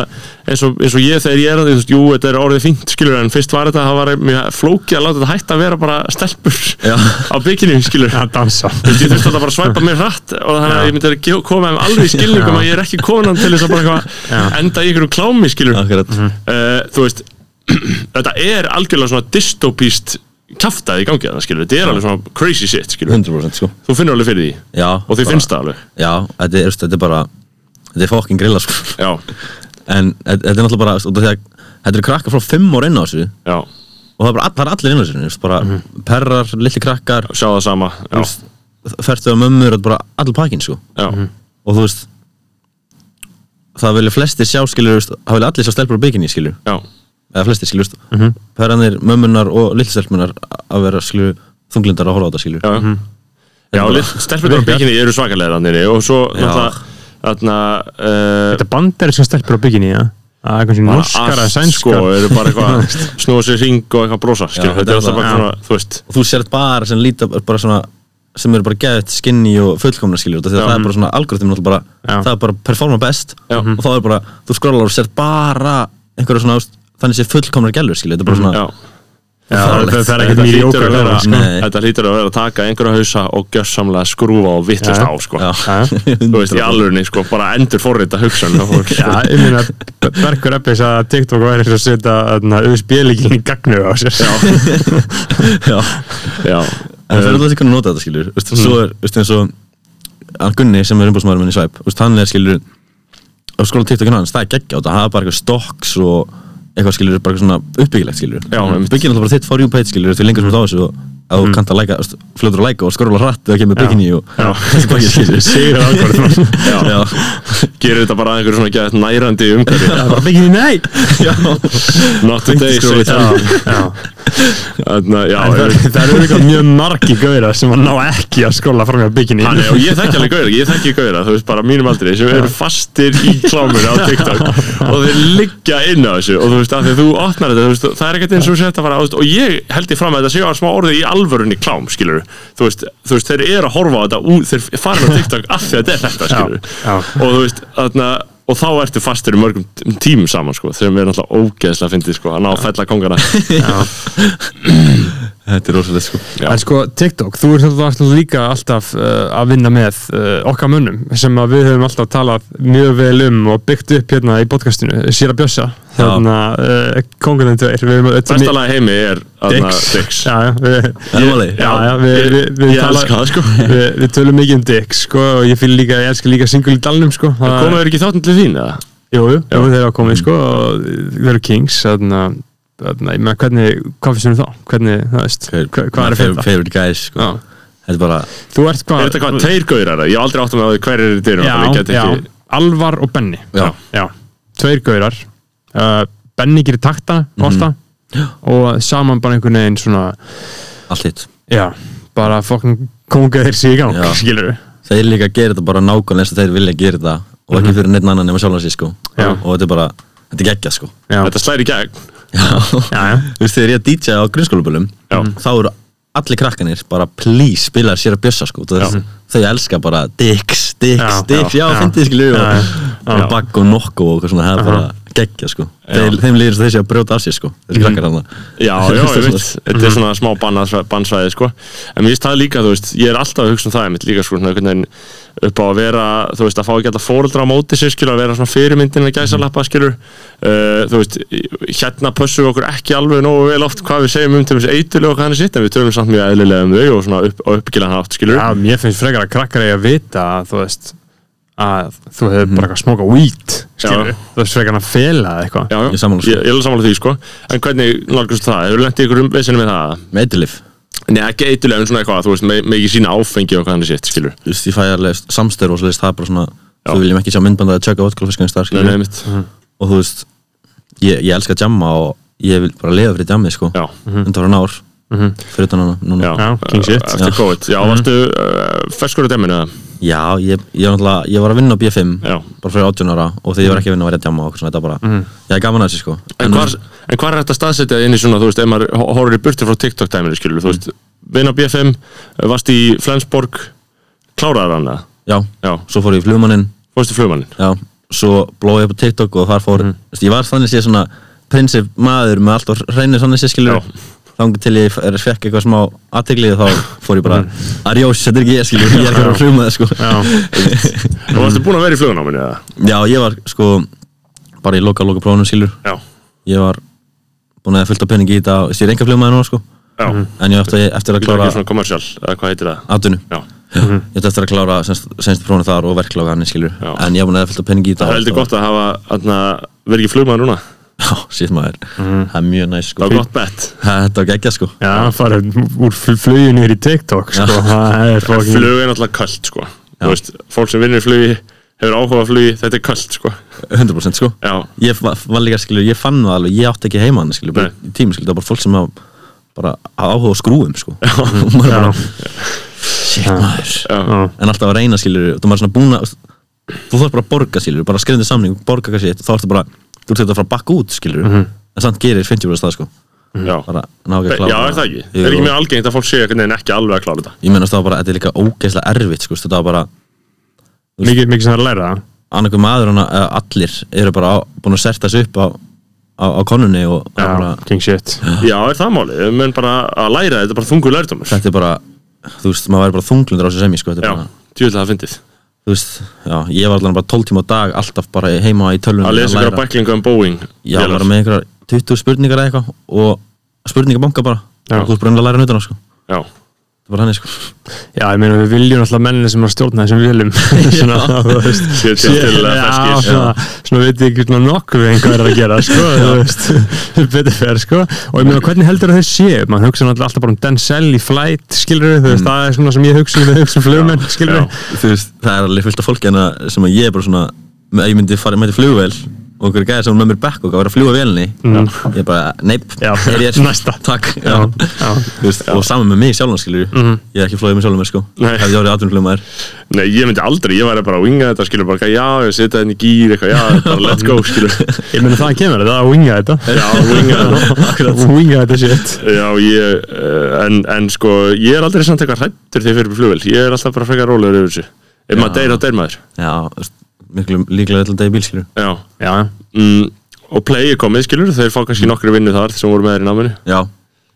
C: eins, og, eins og ég þegar ég er að því, þú veist, jú, þetta er orðið fínt skilur, en fyrst var þetta, það var mjög flókið að láta þetta hætta að vera bara stelpur
D: Já.
C: á bikini, skilur
A: að dansa
C: Þú veist, ég þurfti alltaf bara að svæpa mér hratt og þannig að ég myndi að ge- koma þeim alveg í skilningum
A: Já.
C: að ég er ekki konan til þess að bara eitthvað enda í einhverjum klámi, skilur
D: akkurat
C: uh, þú veist þetta er algjörlega svona dystopíst kjaftaði í gangi að það, skilur þetta er alveg svona crazy shit, skilur
D: 100% sko
C: þú finnur alveg fyrir því
D: Já,
C: og því
D: bara-
C: finnst það alveg
D: Já, þetta er, þetta er bara Þetta er fokkin grilla sko
C: já,
D: En þetta þetta er náttúrulega bara þú veist, út af því að, Þetta eru krakkar frá fimm ára inn á þessu
C: já,
D: Og það er bara all- það er allir inn á þessu þú veist, bara, Perrar, litli krakkar
C: sjá það sama Mhm. já,
D: Fertu á mömmur, þetta er bara allir pakkin sko
C: já,
D: Og þú veist Það vilja flestir sjá skilur þú veist, Það vilja allir sjá stelpur á bygginni skilur
C: já,
D: Eða flestir skilur þú veist.
C: Mhm.
D: Perranir, mömmunar og litli stelpunar Að vera skilur þunglindar að horfa á þetta skilur
C: já já,
D: bara-
C: stelpunar á bygginni eru svakalega þannig og svo
D: Já.
C: náttúrulega þarna, uh,
A: Þetta band er sem stelpur á bygginni, já Það er kannski
C: Bara
A: norskara,
C: allt,
A: sænskara
C: sko, eru bara eitthvað snúa sér hring og eitthvað brosa skilur,
D: Já,
C: þetta er alltaf
D: þetta
C: bara
D: er
C: svona, þú veist
D: og þú sér bara sem líta bara svona sem eru bara geðið skinni og fullkomna skilur því að
C: Já.
D: það er bara svona algoritmin bara,
A: Já.
D: það er bara performa best
C: Já.
D: og þá er bara, þú skrólar og sér bara einhverja svona, þú veist, þannig sé fullkomnar gælur skilur, þetta er bara svona
C: Mhm. já,
A: Já, það það er ekkert mjög
C: þetta hlýtur
A: jókar
C: að vera
A: sko.
D: Nei.
C: þetta hlýtur að vera að taka einhverja hausa og gjössamlega skrúfa og vittlust
A: Já.
C: á sko.
D: Já.
A: Já.
C: þú veist, í alvörunni, sko, bara endur forrita hugsun sko.
A: Já, ég meina Bergur Eppis að TikTok væri eins og að setja USB-líkinn í gagnu á sér Já,
D: já,
C: já,
D: en
A: Ehm.
D: það er alltaf ekki að nota þetta skilur veist, svo
A: Mm.
D: er, veist, eins og hann Gunni sem er umbúrsmaður minn í Svæp veist, hann er skilur og skróla TikTokinn hans, það hérna, er geggja og það hafa bara eitthvað stokks og eitthvað skilur, bara eitthvað svona uppbyggilegt skilur
C: Já, einmitt.
D: byggir náttúrulega bara þitt for you page skilur því lengur sem þú ert á þessu og að
A: Mm.
D: þú kannt að læka, veist, fljótur að læka og skróla hratt þegar kemur bygginni og þessi
A: sko,
D: bækir skilur
A: sigur ákvörð
C: já,
D: já,
C: gerir þetta bara að einhverju svona geðt nærandi umhverfi
A: Það er byggðið nei sko,
D: já,
C: not today,
D: Beint í skrúfu.
C: say
A: Já,
C: já, Þarna, já,
A: um- En það, það eru eitthvað mjög margi gauðra sem að ná ekki að skóla fram hjá bygginni
C: Þannig, og ég þekki alveg gauðra, ég þekki gauðra, þú veist bara á mínum aldrei sem eru fastir í klámur á TikTok og þeir liggja inn á þessu og þú veist að þegar þú opnar þetta, þú veist, það er ekkert eins og sett að fara, þú veist, og ég held ég fram að þetta séu að smá orðið í alvörunni klám, skilur þú veist, þú veist, þeir eru að horfa á þetta út, þeir fara á TikTok af því að þetta er þetta, skilur
A: já.
C: og þú veist, þarna og þá ertu fastur í mörgum t- tímum saman sko, þegar mér er náttúrulega ógeðslega fyndið sko, að ná að fella kongana
D: þetta er rosalegt sko
C: Já.
A: En sko TikTok, þú ert náttúrulega alltaf líka alltaf uh, að vinna með uh, okkar mönnum sem að við höfum alltaf talað mjög vel um og byggt upp hérna í podcastinu, Sýra Bjössa hérna, uh, kongunum tveir Við höfum öll
C: besta lag í heimi er þarna, Dicks
A: Já, já, við,
D: Alvarleg?
A: já, já, við, við, við,
C: Ég elska það, sko.
A: við, við tölum mikið um Dix sko, og ég fylg líka, ég elska líka single í dalnum sko, það,
C: komaðu þeir ekki þáttin til þín eða?
A: Jú, jú, jú þeir hafa komið sko og þeir eru Kings þarna, þarna, ég meina hvernig, hvað finnst þér um þá? Hvernig, það veist, hva, hvað er að
D: favorite,
A: finna?
D: favorite guys sko.
A: Já.
D: þetta er bara,
A: Þú ert hvað?
C: Er þetta hvað, tveir gaurar? Ég hef aldrei átt um að með á því hverjir eru í dyrum
A: Já, já, Alvar og Benni
D: Já.
A: já. Tveir gaurar uh, Benni gerir takta, korta og saman bara einhvern veginn svona
D: allt hitt
A: já, bara fokkin konga þeir sig í gang,
D: Já.
A: skilur við
D: þeir líka gera þetta bara nákvæmlega eins og þeir vilja gera þetta og ekki fyrir neitt annan nema sjálf hans sko.
A: Mhm. Já.
D: og þetta er bara, þetta er geggja sko.
A: Já,
C: Þetta slæri í gegn
D: já.
A: já, já,
D: þú veist þegar ég DJ á grunnskólubölum
C: Já.
D: þá eru allir krakkanir bara please spilaði sér að bjössa sko. Þú veist, þau elska bara dicks, dicks,
A: Já,
D: dicks já,
A: já, já.
D: fyndið skilur
A: Já,
D: og,
A: já.
D: og bagg og nokku og eitthvað svona það er bara geggja sko. þeir, þeim líður þessi að brjóta af sér sko. þessi krakkar hann
C: Já, já, ég veit Þetta
A: Mhm.
C: er svona smá bannsvæði, bannsvæði sko. En mér finnst það líka, þú veist Ég er alltaf að hugsa um það einmitt líka sko, svona, einhvern veginn upp á að vera, þú veist, að fá ekki alltaf fóreldra á móti sér, skilur, að vera svona fyrirmyndin að gæsa lappa, skilur uh, Þú veist, hérna pössum við okkur ekki alveg nógu vel oft hvað við segjum um til þessi eitulega og hvað hann er sitt, en við tölum samt mjög eðlilega um þau og svona upp, uppgilaðan hátt, skilur
A: já, mér finnst frekar að krakkar eiga að vita að þú veist að þú hefur bara eitthvað smóka weed skilur
C: Já.
A: við, þú veist frekar að fela eða eitthvað
C: Já, já.
D: Ég er sammála, sko.
C: ég, ég er alveg sammála því sko En hvernig nálgast það? Hefur lent í ykkur um vesinu með það?
D: með eitilif
C: Nei, ekki eitulega en svona eitthvað, þú veist, með, með ekki sína áfengi og hvað hann er sitt, skilur
D: þú veist, ég fæ alveg samstöru og svo veist, það er bara svona þú viljum ekki sjá myndbandað að tjöka vodkálfiskans þar
C: Nei,
D: skilur
C: nei, mitt
D: og þú veist ég, ég elska að jamma og ég vil bara lifa fyrir jammið sko
C: Já.
D: undan ár fyrir utan hana
C: Já,
D: núna
A: Já, king shit.
C: Eftir
D: Já.
C: COVID, já, Mhm. varstu uh, ferskur á deminu eða?
D: Já, ég, ég, var náttúrulega- ég var að vinna á B5
C: Já. Mhm.
D: bara fyrir 18 ára og þegar ég var ekki að vinna var ég að jamma og okkur svona þetta bara ég er gaman að þessu sko
C: En hvar, en hvar er þetta staðsetja inn í svona, þú veist, ef maður ho- horfir í burti frá TikTok dæminu, skilur, þú veist Vinn á BFM, varst eh, í Flensborg, kláraðar hann eða?
D: já,
C: Já,
D: svo fór ég í flugmannin
C: fórstu flugmannin
D: já, svo blóði ég upp á TikTok og þar fór
C: Mhm.
D: veist, ég var þannig séð svona prinsip maður með allt og reynir svona séð skilur
C: Já.
D: þangur til ég er, fekk eitthvað smá aðtegli og þá fór ég bara
C: Mhm.
D: arjós, þetta er ekki ég skilur, ég er fyrir að flugma það sko
C: Og varstu búin að vera í flugnáminu eða?
D: já, ég var sko bara í loka, loka prófunum skilur
C: Já,
D: ég var búin að fylta peningi í þetta og ég er enga flugmaður núna sko
C: já,
D: en ég átti eftir
C: það
D: að
C: er
D: klára
C: ekki svona kommersial, eða hvað heitir það?
D: atvinnu
C: Já, Mhm.
D: ég átti eftir að klára senstu prófunu þar og verklága hann skilur
C: Já.
D: en ég var búin að fylta peningi í
C: það
D: þetta sko.
C: er heldur gott að hafa, þarna, verið ekki flugmaður núna
D: já, síðan maður það er mjög næst
C: Mhm. Það
D: sko
C: var gott bett
D: þetta var geggjað sko
A: Já, það farið úr fluginu yfir í TikTok sko, það er fokkin
C: flug er náttúrulega kallt sko Þú veist, fólk sem vinnur í flugi hefur áhuga á flugi, þetta er kallt sko
D: 100% sko
C: já,
D: ég va- var líka skilur, ég fann það alveg ég átti ekki heima hann skilur, bara
C: Nei.
D: í tími skilur, það var bara fólk sem hafa bara hafa áhuga á skrúum sko og maður bara shit maður
C: já,
D: en alltaf að reyna skilur þú maður svona búin að þú þarf bara að borga skilur bara skrifnir samning, borga hvað shit þá ertu bara þú ert þetta frá bakk út skilur en samt gerir 50% það sko
C: Já,
D: bara ná ekki að klára
C: Mhm. já er það ekki? Er ekki mjög algengt að fólk sé einhvern veginn ekki alveg að klára þetta?
D: ég menn að það var bara, þetta er líka ógeðslega erfitt sko, þetta var bara,
A: mikið, mikið sem það er að læra það.
D: annarkur maður hana, eða allir eru bara á, búin að serta sig upp á, á, á konunni og það er bara,
A: Já, king shit
C: Já, er það málið? Menn bara að læra þetta er bara þungur lærdómur
D: þetta er bara þú veist, maður væri bara þunglundur á þessu semi sko, þetta er
C: Já,
D: bara,
C: tjóðlega það fyndið
D: þú veist, já, ég var allan bara 12 tíma á dag alltaf bara heima í tölvunni
C: Að lesa ykkur
D: læra.
C: bæklinga um Boeing
D: Já,
C: vélar.
D: bara með einhverjar 20 spurningar eða eitthvað og spurningabanka bara
A: Já.
D: og þú ert bara að læra nautan á sko það
C: Já,
D: er bara hannig sko
A: Já, ég meina við viljum alltaf mennin sem er að stjórna þessum viljum Svona, þú veist
C: Setja til, uh,
A: Já,
C: ferskir.
A: svona, svona veit ég ekki svona nokkuð en hvað er að gera, sko þú veist, betur fer, sko og ég meina, hvernig heldur þau séu, maður hugsa náttúrulega alltaf bara um Denzel í flight, skilur þú veist, það er svona sem ég hugsa, ég hugsa um flugmenn, skilur
C: Mm. já.
D: þú veist, það er alveg fullt af fólki hérna sem að ég er bara svona ef ég myndi fara með til flugvél og einhverju gæði sem er með mér bekk og að vera að fljúa vélni mm. ég er bara, neip,
A: Já.
D: er ég
A: Næsta.
D: takk, já,
A: Já, já.
D: Þú veist, og saman með mig sjálfan skilur mm. ég er ekki flóið með sjálfan mér sko
C: Mhm. Nei.
D: hefði ég árið atvinnflugmaður
C: Nei, ég myndi aldrei, ég væri bara að winga þetta skilur bara, eitthvað, já, ég setja henni í gýr eitthvað, já, bara let's go skilur
A: Ég meina, það kemur þetta, að winga þetta
C: Já, winga þetta
A: Akkurat Winga þetta shit
C: Já, ég, eh, en, en sko ég er aldrei samt eitthvað hrættur þegar ég fyrir flugvel ég er alltaf bara frekar rólegur yfir þessu ef maður deyr, þá deyr maður
D: já, þú veist, miklu líklega öll að degi bíl skilur
C: Já,
A: Já,
C: mm, og play er komið skilur þeir fá kannski nokkru vinnu þar sem voru með þér í náminu
D: já,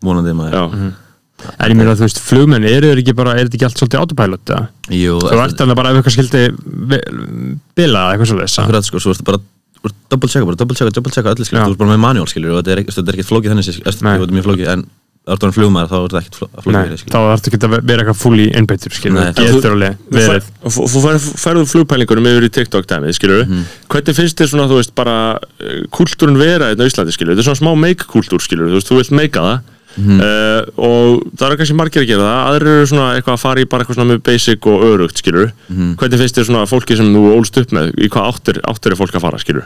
D: vonandi maður
C: Já,
A: en ég meina, þú veist, flugmenn, eru þeir ekki bara, er þetta ekki allt svolítið autopilot, eða?
D: Jú,
A: Þú ert alveg bara ef eitthvað skildi ve- bilað eða eitthvað svolítið,
D: akkurat sko, svo ertu bara þú ert double checka, bara double checka, double checka öllu skilur,
A: Já.
D: þú ert bara með manual skilur og þetta er, ekki- þetta er ekkert flókið þannig skilur,
A: Nei.
D: þetta er mjög flókið en ef þú ert orðin flugmaður þá er þetta ekkert fló- flókið
A: Nei,
D: fyrir,
A: þá
D: skilur.
A: þarf ekki að ve- vera eitthvað full í einbeittur skilur,
D: Nei,
A: Nei, getur alveg
C: Þú fær-
A: verið
C: og Þú fær- færðu flugpælingunum yfir í TikTok dæmið, skilur
D: Mhm.
C: Hvernig finnst þér svona, þú veist, bara eh, kúltúrun vera einn á Íslandi, skilur Þetta er svona smá make-kúltúr, skilur Þú veist, þú vilt meika það
D: Mhm.
C: Uh, og það eru kannski margir að gera það aðrir eru svona eitthvað að fara í bara eitthvað svona mjög basic og örugt skilur
D: Mhm.
C: hvernig finnst þér svona fólki sem þú ólst upp með í hvað áttir, áttir er fólk að fara skilur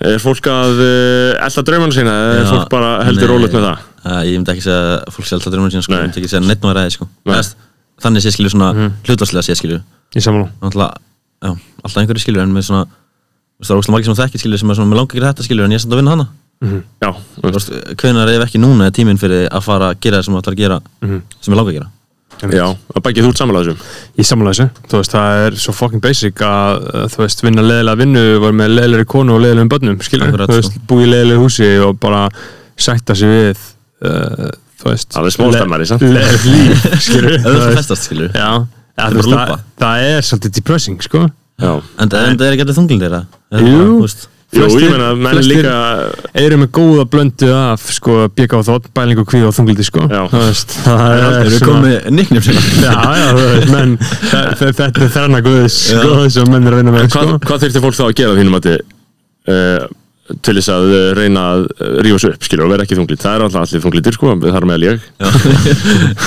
C: er fólk að uh, elda draumana sína eða er
D: Já,
C: fólk bara heldur
D: nei,
C: rólegt með það
D: eh, ég myndi ekki segja að fólk sé alltaf drömmar sína sko,
C: Nei.
D: ég myndi ekki segja neitt maður aðeins sko
C: Nei. Mhm.
D: Eðast, þannig sé skilur svona mm. hlutvarslega sé skilur
A: í samlum
D: náttúrulega, já, alltaf einhverju skilur en með svona, þú veist, það er óslega margir sem þú þekkir skilur sem er svona, með langar að gera þetta skilur en ég er samt að vinna hana
C: já,
D: Þú veist, hvenær ef ekki núna er tíminn fyrir að fara að gera það sem þú ætlar að gera
A: Mhm.
D: sem er langar að gera
C: já, að bækja þú út samanlega þessum
A: í samlega þessu, þú veist, það er svo fucking basic að, uh, þú veist, vinna leðilega vinnu var með leðilegri konu og leðilegum börnum skilur,
D: Akkurat,
A: þú veist,
D: sko.
A: búi í leðilegu húsi og bara sætta sig við uh, þú veist
C: Það er smá stemmari, samt.
A: leðileg líf, skilur
D: Ef þú festast, skilur.
A: já, ja,
D: er
A: þú
D: bara
A: veist,
D: lúpa.
A: það, það er svolítið depressing, sko
C: já,
D: en, en það er ekki allir þunglindi þeirra Það er
A: Jú.
D: bara, þú veist,
C: Jú,
A: Flestir-
C: ég meina, menn
A: flestir-
C: líka
A: eru með góða blöndu af sko, BK og þótt, bælingu, kvíð og þunglindi sko.
C: Já.
A: Þú veist, það er
D: Þeir eru
A: svona-
D: komið nicknum sinna
A: Já, já, þú veist, menn þe- þe- þetta er þarna guðis sko, sem menn er að vinna með sko.
C: hvað, hvað þurfti fólk þá að gera þínum að þið eh, til þess að eh, reyna að eh, rífa svo upp skilur og vera ekki þunglit, það er alltaf allir þunglitir sko, þar með að ég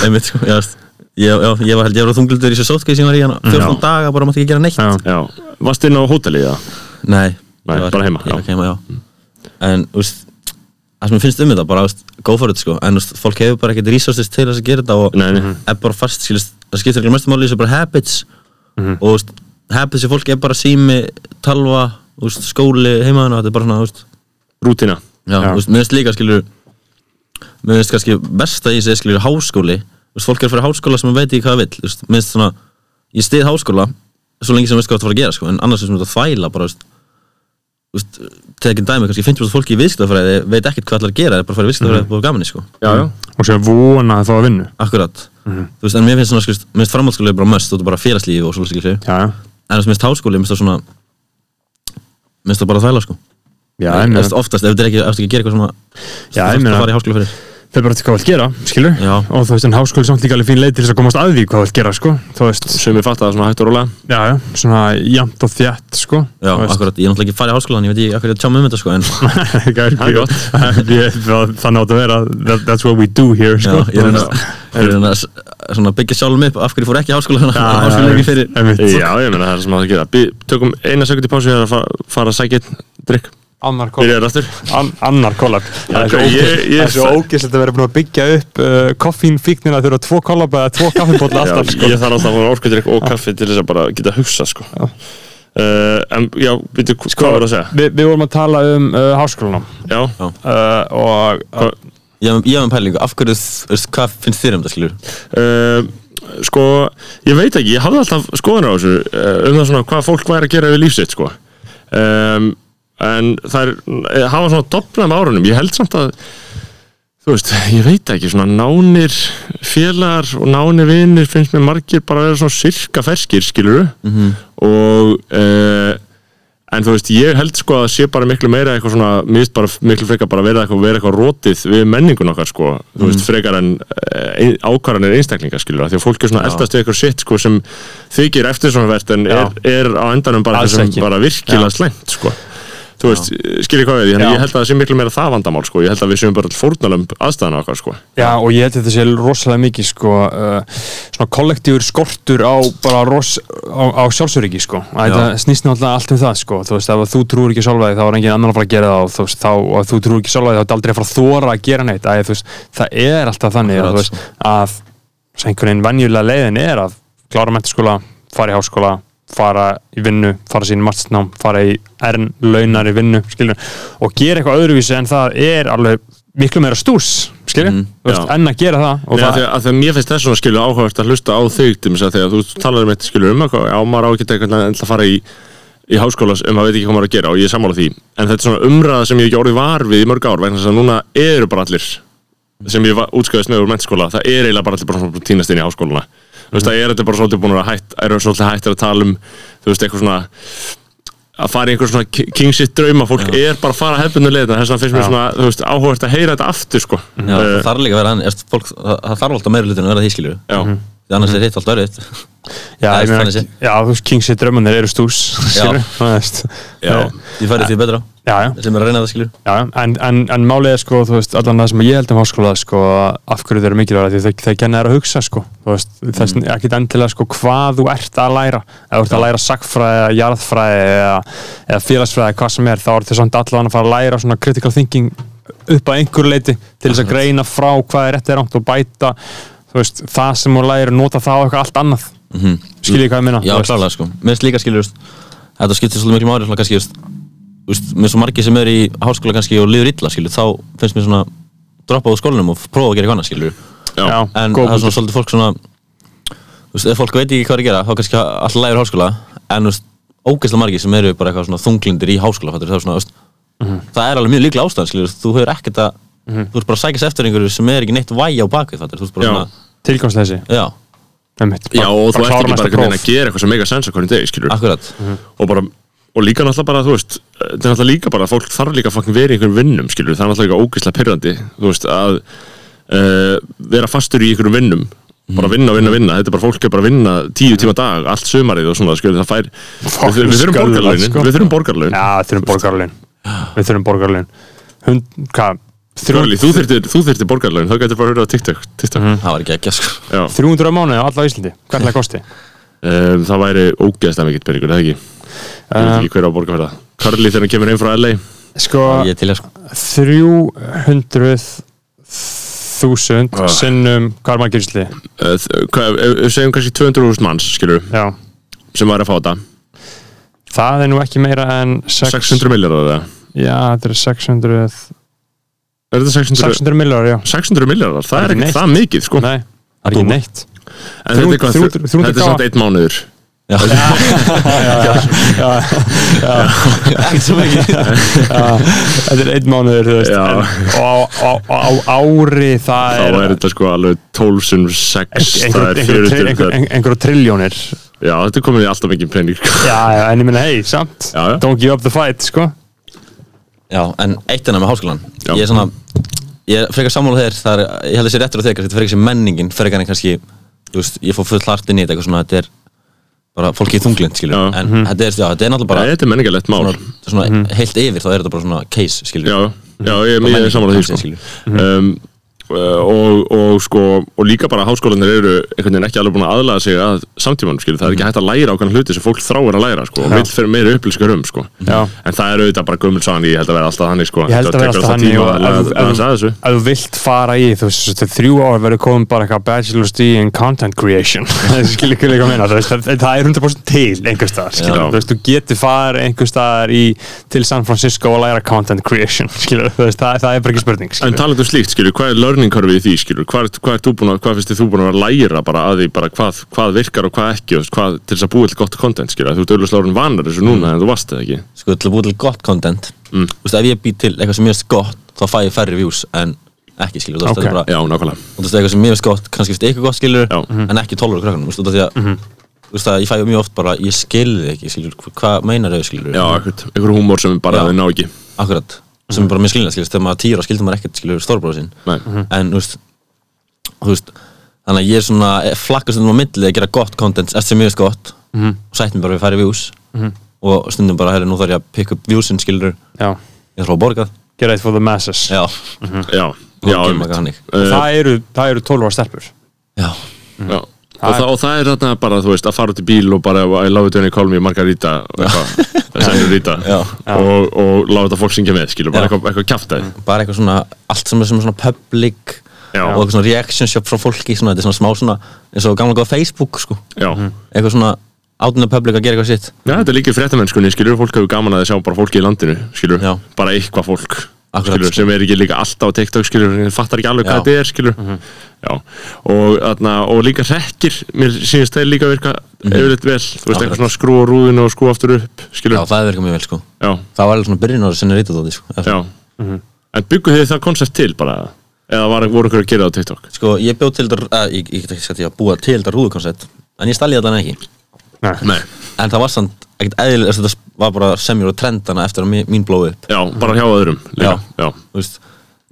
D: einmitt sko, já, veist. ég, já, ég var held ég var þunglundur í þessu sótkvæði sem ég var í hana 14 daga, bara mátti ekki gera neitt
A: Já.
C: já, varst inn á hótelið það
D: nei,
C: Nei,
D: ég var,
C: bara heima,
D: ég
C: já. Mm.
D: var ekki heima, já. en þú veist það sem ég finnst um þetta, bara, þú veist, go for it sko en þú veist, fólk hefur bara ekkert resources til þess að gera þetta og Mhm.
C: Nei, nei.
D: er bara fast, skilist, það skiptir ekki mestu máli þessu bara habits
C: Mhm.
D: og þú veist, habits í fólk er bara sími, talva þú veist, skóli, heimaðina, þetta er bara svona þú veist,
C: rútina
D: Já, þú veist, mér finnst líka, skilur Mér finnst kannski versta í þessi, skilur, háskóli Þú veist, fólk er að fara í háskóla sem veit ekki hvað það vill Þú veist, mér finnst svona Ég stið háskóla, svo lengi sem þú veist hvað það fara að gera, sko En annars er svona þetta þvæla, bara, þú veist Þú veist, tekið dæmi, kannski 50% fólki í viðskiptafræði Veit ekkert hvað það að gera, er bara að fara í
A: Mhm.
D: viðskiptafræði mm. og gaman, sko
C: já, já,
A: og sem vona að fá að vinna
D: Akkurat
A: Mhm.
D: Þú veist, en mér finnst svona, skilur, mér finnst framhaldsskóli bara möst Þú veist, bara félagslífi og svolítið, skilur
A: Já, já,
D: En þú veist, mér finnst háskóli, mér finnst það svona Mér finnst það bara þvæla, sko
A: já, ég
D: Þú
A: meina,
D: veist, Oftast, ef þetta er ekki, ef þetta ekki að gera eitthvað svona
A: Já, ég
D: þú þarft
A: meina-
D: að fara í háskóla fyrir.
A: það er bara til hvað þú vilt gera, skilur
D: Já.
A: og þú veist, en háskóli er samt líka alveg fín leið til þess að komast að því hvað þú vilt gera, sko þú veist,
C: sem við fatta það svona hægt og rólega
A: já, já, svona jæmt og þjætt, sko
D: Já, akkurat, ég er náttúrulega ekki farið í háskólan, ég veit ekki akkur ég að tjá mig um þetta sko, en
A: það er gott það nátt að vera, that, that's what we do here,
D: já,
A: sko
D: ég er hérna- ég er hérna s- svona að byggja sjálfum upp, af hverju ég fór ekki í háskólan,
A: Já, já,
D: háskólan er ekki fyrir.
A: einmitt.
C: já, ég meina það er sem að það gera Bi, tökum eina sekund í pásu hér að fara, fara að sækja einn drikk
A: Annar kollab
C: byrjaður aftur
A: An Annar kollab Það er svo
C: ok, ég-
A: ógeðs-
C: ég-
A: það er svo ógeðslegt að vera búin að byggja upp uh, koffínfíknina þurfa tvo kollab eða tvo kaffibólla
C: já,
A: alltaf sko.
C: ég þarf alltaf að fara orkudrykk og kaffi til þess að bara geta hugsa sko. uh, en já, veitu, hva-
A: Sko-
C: hvað var það að segja?
A: Vi, við vorum að tala um uh, háskólanum
C: Já,
A: uh, og uh,
C: Hvað-
D: Ég hef- ég hef um pælingu, af hverju, þú veist, hvað finnst þér um þetta, skilur?
C: uh, sko, ég veit ekki, ég hafði alltaf skoðan á þessu uh, um það svona hvað fólk væri að gera við lífsitt, sko. Um, en það er, hafa svona doblað með árunum, ég held samt að, þú veist, ég veit ekki, svona nánir félagar og nánir vinir finnst mér margir bara að vera svona sirka ferskir, skiluru,
A: Mhm.
C: -hmm. og... Uh, En þú veist, ég held sko að sé bara miklu meira eitthvað svona, mér finnst bara miklu frekar bara verið eitthvað, verið eitthvað rótið við menningun okkar sko, þú
A: Mhm.
C: veist, frekar en e, ákvarðanir einstaklinga skilur því að fólk er svona eldast við eitthvað sitt sko sem þykir eftir svona verðt en er, er á endanum bara
A: Alls
C: eitthvað
A: ekki.
C: sem bara virkilega slæmt sko. Þú veist, skilur hvað við, þannig að
A: Já.
C: ég held að það sé miklu meira það vandamál sko, ég held að við séum bara fórnalömb aðstæðan okkar sko.
A: Já, og ég held að þetta sé rosalega mikið sko, uh, svona kollektífur skortur á, bara ros, á, á sjálfsöryggi sko. Að Þetta snýst náttúrulega allt um það sko. þú veist, ef að þú trúir ekki sjálfa þig þá er engin annan að fara að gera það og þú veist, þá, og ef þú trúir ekki sjálfa þig þá er aldrei að fara að þóra að gera neitt að, þú veist, það er alltaf þannig að,
D: Akkurat,
A: þú
C: sko.
A: veist, að sem einhvern veginn venjulega leiðin er að klára mentaskóla, fara í háskóla fara í vinnu, fara sín matsnám fara í ern, launar í vinnu skilur, og gera eitthvað öðruvísi en það er alveg miklu meira stús skilur,
D: Mhm.
A: þú veist,
C: Mm, Já.
A: en að gera það og
C: Nei, af
A: það
C: því að, að því að mér finnst þess svona skilur áhugavert að hlusta á þig til þess að þegar þú talar um þetta skilur um eitthvað, á maður á ekki eitthvað en ætla að fara í, í háskóla um að veit ekki hvað maður á að gera og ég er sammála því en þetta er svona umræða sem ég hef ekki orðið var við í mörg ár vegna þess að núna eru bara allir sem ég útskjöðist með úr mennskóla það er eiginlega bara allir bara svona búin að tínast inn í háskóluna þú veist það er þetta bara svolítið búin að hætt er svolítið hættir að tala um þú veist eitthvað svona að fara í einhver svona ki- king shit drauma fólk er bara að fara hefðbundu leiðina þess að finnst mér
A: Já.
C: svona þú veist áhugavert að heyra þetta aftur sko
D: Já,
C: Eh,
D: það þarf líka að vera hann, eftir, fólk, það það þarf alltaf meira hlutinu að vera því, skilur
C: já.
D: Því annars er hitt alltaf erfitt
A: já,
D: það er
A: ég meina,
D: þannig sé.
A: já, þú veist, kingsi drömmunir eru stús skilur, þú veist
C: Já.
D: Því færið því betra,
A: já, já,
D: sem er að reyna það, skilur
A: já, en, en, en málið er sko, þú veist, allan það sem ég held um háskóla sko, að af hverju þau eru mikilvæg því þeir, þeir kenna þær að hugsa, sko þú veist, þess, mm. ekkit endilega, sko, hvað þú ert að læra ef þú ert að læra sakfræði, eða jarðfræði eða, eða félagsfræði, hvað sem er þá er þau samt allan að fara að læra svona critical thinking upp að einhverju leiti til þess að greina frá hvað er rétt eða rámt og bæta þú veist, það sem þú lærir, nota það á eitthvað allt annað
D: Mhm.
A: skiljið hvað ég minna
D: Já, klálega sko, mér finnst líka skilur veist, Þetta skiptir svolítið miklu máli svona, kannski, veist, veist, Mér svo margir sem er í háskóla kannski og liður illa skilur, þá finnst mér svona droppa úr skólanum og prófa að gera eitthvað annað skilur
C: Já.
A: Já.
D: En
A: Góð
D: það er
A: punktur.
D: svona svolítið fólk svona þú veist, Ef fólk veit ekki hvað er að gera, þá kannski alltaf lægur háskóla En þú veist, ógeðslega margir sem eru bara eitthvað svona þunglindir í háskóla fattur, það, er svona, þú veist,
A: Mhm.
D: það er alveg mjög líklega ástæðan skilur Þú hefur ekkert að, þú ert bara að sækast eftir einhverju sem er ekki neitt vægi á bakvið fattur, þú ert bara
C: Já.
D: svona,
A: tilgangsleysi
D: já,
A: einmitt,
C: Já, og þú ert
A: klára
C: ekki
A: næsta
C: bara einhvern
A: próf.
C: veginn að gera eitthvað sem mega sens að hvernig degi, skilur
D: akkurat
A: Mhm.
C: og, bara, og líka náttúrulega bara, þú veist eh, þetta er náttúrulega líka bara, að fólk þarf líka að fucking vera í einhverjum vinnum, skilur, það er náttúrulega líka ógeðslega pyrrandi, þú veist, að uh, vera fastur í einhverjum vinnum bara vinna, vinna, vinna, þetta er bara fólk er bara að vinna tíu tíma á dag, allt sömarið og svona skilur, það fær, við, við þurfum
A: skelfilegt,
C: borgarlaunin
A: sko.
C: við þurfum borgarlaun,
A: Já, við þurfum borgarlun Við þurfum borgarlun Hund, hvað?
C: Þrjóli, þú þurftir, þú þurftir borgarlaun þá gætir bara að höra á TikTok, TikTok.
A: Mhm.
D: Það var ekki ekki sko
C: Já,
A: 300 á mánuði á alla Íslandi Hvað er það kosti?
C: um, það væri ógeðslega mikill peningur, er það ekki ég veit
A: Um,
C: ekki hver á að borga fyrir það Karli þegar hann kemur einn frá LA
A: Sko,
D: Ég er til að sko
C: Ah.
A: 300.000 sinnum Hvað er maður gísli?
C: Eh, hvað, ef- ef- segjum kannski 200.000 manns skilur,
A: Já
C: sem var að fá þetta
A: Það er nú ekki meira en 6,
C: 600 miljardar eða
A: Já, þetta er 600
C: er þetta 600,
A: 600 millar, já
C: 600 miljardar, það
A: Það er
C: er
A: ekki
C: ekki
A: neitt.
C: það mikið sko.
A: Nei, það er ekki neitt
C: en þetta er, hvað,
A: 300
C: þetta er samt einn mánuður
D: Já,
A: Ekkert svo mikið Þetta er einn mánuður, þú veist
C: Já.
A: en, og, á- á- á á ári það
C: þá
A: er
C: er þetta sko alveg 1206 það er 40 það er-
A: einhverjum triljónir
C: já, þetta er komin í alltaf mikið pening sko.
A: já, já, en ég minna, hei, samt
C: Já, já.
A: don't give up the fight, sko
D: já en eitt enna með háskólan
C: Já.
D: Ég er svona Ég er frekar sammála þér þar, Ég held þessi réttur á þér kannski, Þetta frekar sem menningin Frekar en kannski Þú veist, ég fór full hart inn í þetta eitthvað svona Þetta er bara fólki í þunglind skilur
C: Já.
D: En þetta er, já, þetta er náttúrulega bara
C: þetta er menningarlegt mál Mhm.
D: svona, svona heilt yfir Þá er þetta bara svona case skilur
C: já, já, ég, ég
D: menning,
C: er saman að því
D: kannski,
C: sko. um,
A: Mhm.
C: Eh, og, og, sko, og líka bara háskólanir eru einhvern veginn ekki alveg búin að aðlaða sig að samtímanum skilur, það er ekki hægt að læra ákveðan hluti sem fólk þráir að læra sko, og vill fyrir meiri upplýskar um sko.
A: Já.
C: en það er auðvitað bara gömul sáðan ég held að vera alltaf þannig sko.
A: Ég held að
C: Þetta
A: vera
C: tekur
A: alltaf þannig
C: tíma
A: og
C: að
A: ef-
C: að-
A: ef-
C: að að þessu
A: ef þú vilt fara í þú veist, þetta er þrjú ár verður komin bara eitthvað bachelor's degree in content creation skilur ekki líka að meina þú veist, það, það er 100% til einhver staðar skilur,
C: Já.
A: þú veist, þú getur farið einhver staðar í, til San Francisco og læra content creation skilur, þú veist, það, það er bara ekki spurning
C: En
A: skilur.
C: talað um slíkt, skilur, hvað er learning curve í því, skilur, hvað, ert- hvað, ert þú búin að, hvað finnst þið þú búin að læra bara að því bara hvað, hvað virkar og hvað ekki, og hvað, til þess að búið til gott content, skilur, þú ert auðvitað orðin vanar þessu núna en þú varst það ekki.
D: sko, til að búið til gott content mm. veist, ef ég být til eitthvað sem ég veist gott þá fæ ég færri views en ekki skilur þú veist,
A: Ok,
D: þetta er bara,
C: Já, nákvæmlega.
D: og þú veist, eitthvað sem ég veist gott kannski veist eitthvað gott skilur
C: Já. Mhm.
D: en ekki 12 ára krakkanum, þú veist, út af því að þú veist, að ég fæ mjög oft bara, ég skilði ekki skilur, hva- hvað meinar þau skilur
C: Já, einhvern, einhver húmór sem bara
D: Já.
C: þið ná ekki.
D: akkurat, sem er bara mjög skilina skilur þegar maður týra skildi maður ekkert skilur stórbróðu sinn
C: Mhm. Nei.
D: en þú veist, þú veist þannig að ég er svona eh, flakkast um á milli að gera gott content eftir sem ég veist gott
C: Mhm.
D: og sætt mér bara við færi views og stundum bara, herri, nú þarf ég að pick up views skilur,
A: Já,
D: ég þarf að borga
A: get it for the masses
C: Eh,
D: já,
C: Já, Mhm. já,
D: Já,
C: einmitt.
D: þannig.
A: Og það eru, það eru 12 ára stelpur
D: já,
C: Já. Og, það, og það er þarna bara, þú veist, að fara út í bíl og bara I love it when you call me Margarita og eitthvað, sænur Rita
D: Já.
C: og, og láta þetta fólk syngja með, skilur, bara
D: Já. Mm.
C: eitthvað, eitthvað kjaftaði
D: bara eitthvað svona allt sem er sem er svona public
C: Já.
D: og eitthvað svona reaction shop frá fólki svona, þetta er svona smá svona, eins og gamla góða Facebook sko.
C: Já,
D: eitthvað svona átnum public að gera eitthvað sitt
C: Já, þetta er líka í fréttamennskunni, skilur, fólk hefur gaman að þið sjá bara fólki í landinu, skilur,
D: Já.
C: bara eitthvað fólk,
D: Akkurat,
C: skilur,
D: sko.
C: sem er ekki líka alltaf á TikTok, skilur, en fattar ekki alveg
D: Já. Mhm.
C: hvað þetta er, skilur, já, og, þarna, og líka rekkir, mér sínist þeir líka virka yfirleitt vel, þú veist,
D: Mhm. Akkurat.
C: eitthvað svona skrúa rúðinu og skrúa aftur upp, skilur,
D: já, það virkar mjög vel sko.
C: já,
D: það var alveg svona byrjun ára sinni rítið á því sko.
C: já. en byggu þið það koncept til bara, eða var, voru ykkur að gera það á TikTok?
D: sko, ég bjóð til þetta að, ég, ég get ekki sagt ég að búa til þetta rúðukoncept en ég stalli þetta ekki
C: Nei.
D: en það var samt ekkert eðlilega þetta var bara semjur og trendana eftir að mi- mín blóð upp
C: Já, bara hjá öðrum, líka, já,
D: þú veist,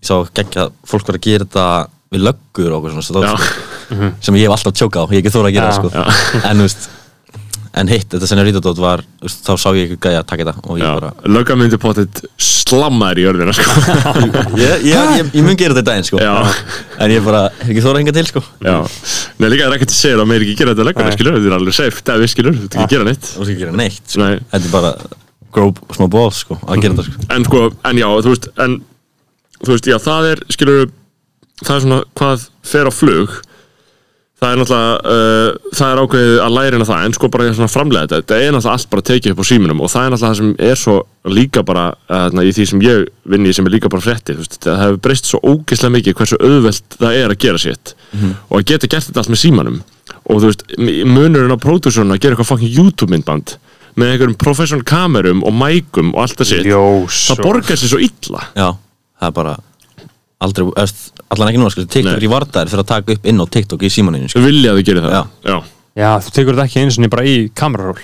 D: ég sá geggja að fólk var að gera þetta við löggur og okkur svona
C: Já. Mhm.
D: stóð, sko, sem ég hef alltaf tjóka á, ég hef ekki þóra að gera
A: Já.
D: það sko. en þú veist en hitt, þetta sem er rítadótt var þú veist, þá sá ég ekki gæja að taka þetta og ég
C: já,
D: bara
C: löggamyndi potið slammaður í örðina, sko,
D: ég, ég, ég, ég mun gera þetta í daginn sko.
C: Já.
D: en ég bara, hef ekki þóra að hinga til sko.
C: Já, nei líka það er ekkert að segja það, maður er ekki að gera þetta leggana,
A: Nei.
C: skilur, þetta er alveg safe, það er við skilur, þetta er ekki að gera neitt.
D: þú veist ekki gera neitt sko.
C: Nei.
D: þetta er bara grow smá balls sko, að gera þetta sko.
C: En sko, en já, þú veist, en, þú veist, já, það er, skilur, það er svona hvað fer á flug, það er náttúrulega, uh, það er ákveðið að læra inn á það, en sko bara svona framlega þetta, þetta er náttúrulega allt bara tekið upp á síminum og það er náttúrulega það sem er svo líka bara, uh, þarna, í því sem ég vinn í sem er líka bara fréttir, þú veist, það hefur breyst svo ógeðslega mikið hversu auðvelt það er að gera sétt og að geta gert þetta allt með símanum og þú veist, m- munurinn á pródúsjónu að gera eitthvað fucking YouTube myndband með einhverjum professional kamerum og mækum og allt það sitt
A: Ljós
C: það borgar sér svo illa
D: já, það er bara aldrei, öst, allan ekki núna sko, TikTok
C: Nei.
D: er í vardar fyrir að taka upp inn á TikTok í símaninu sko.
C: Þau vilja að þau gera það
D: Já.
C: Já.
A: Já, þú tekur þetta ekki eins og niður bara í kamerarúl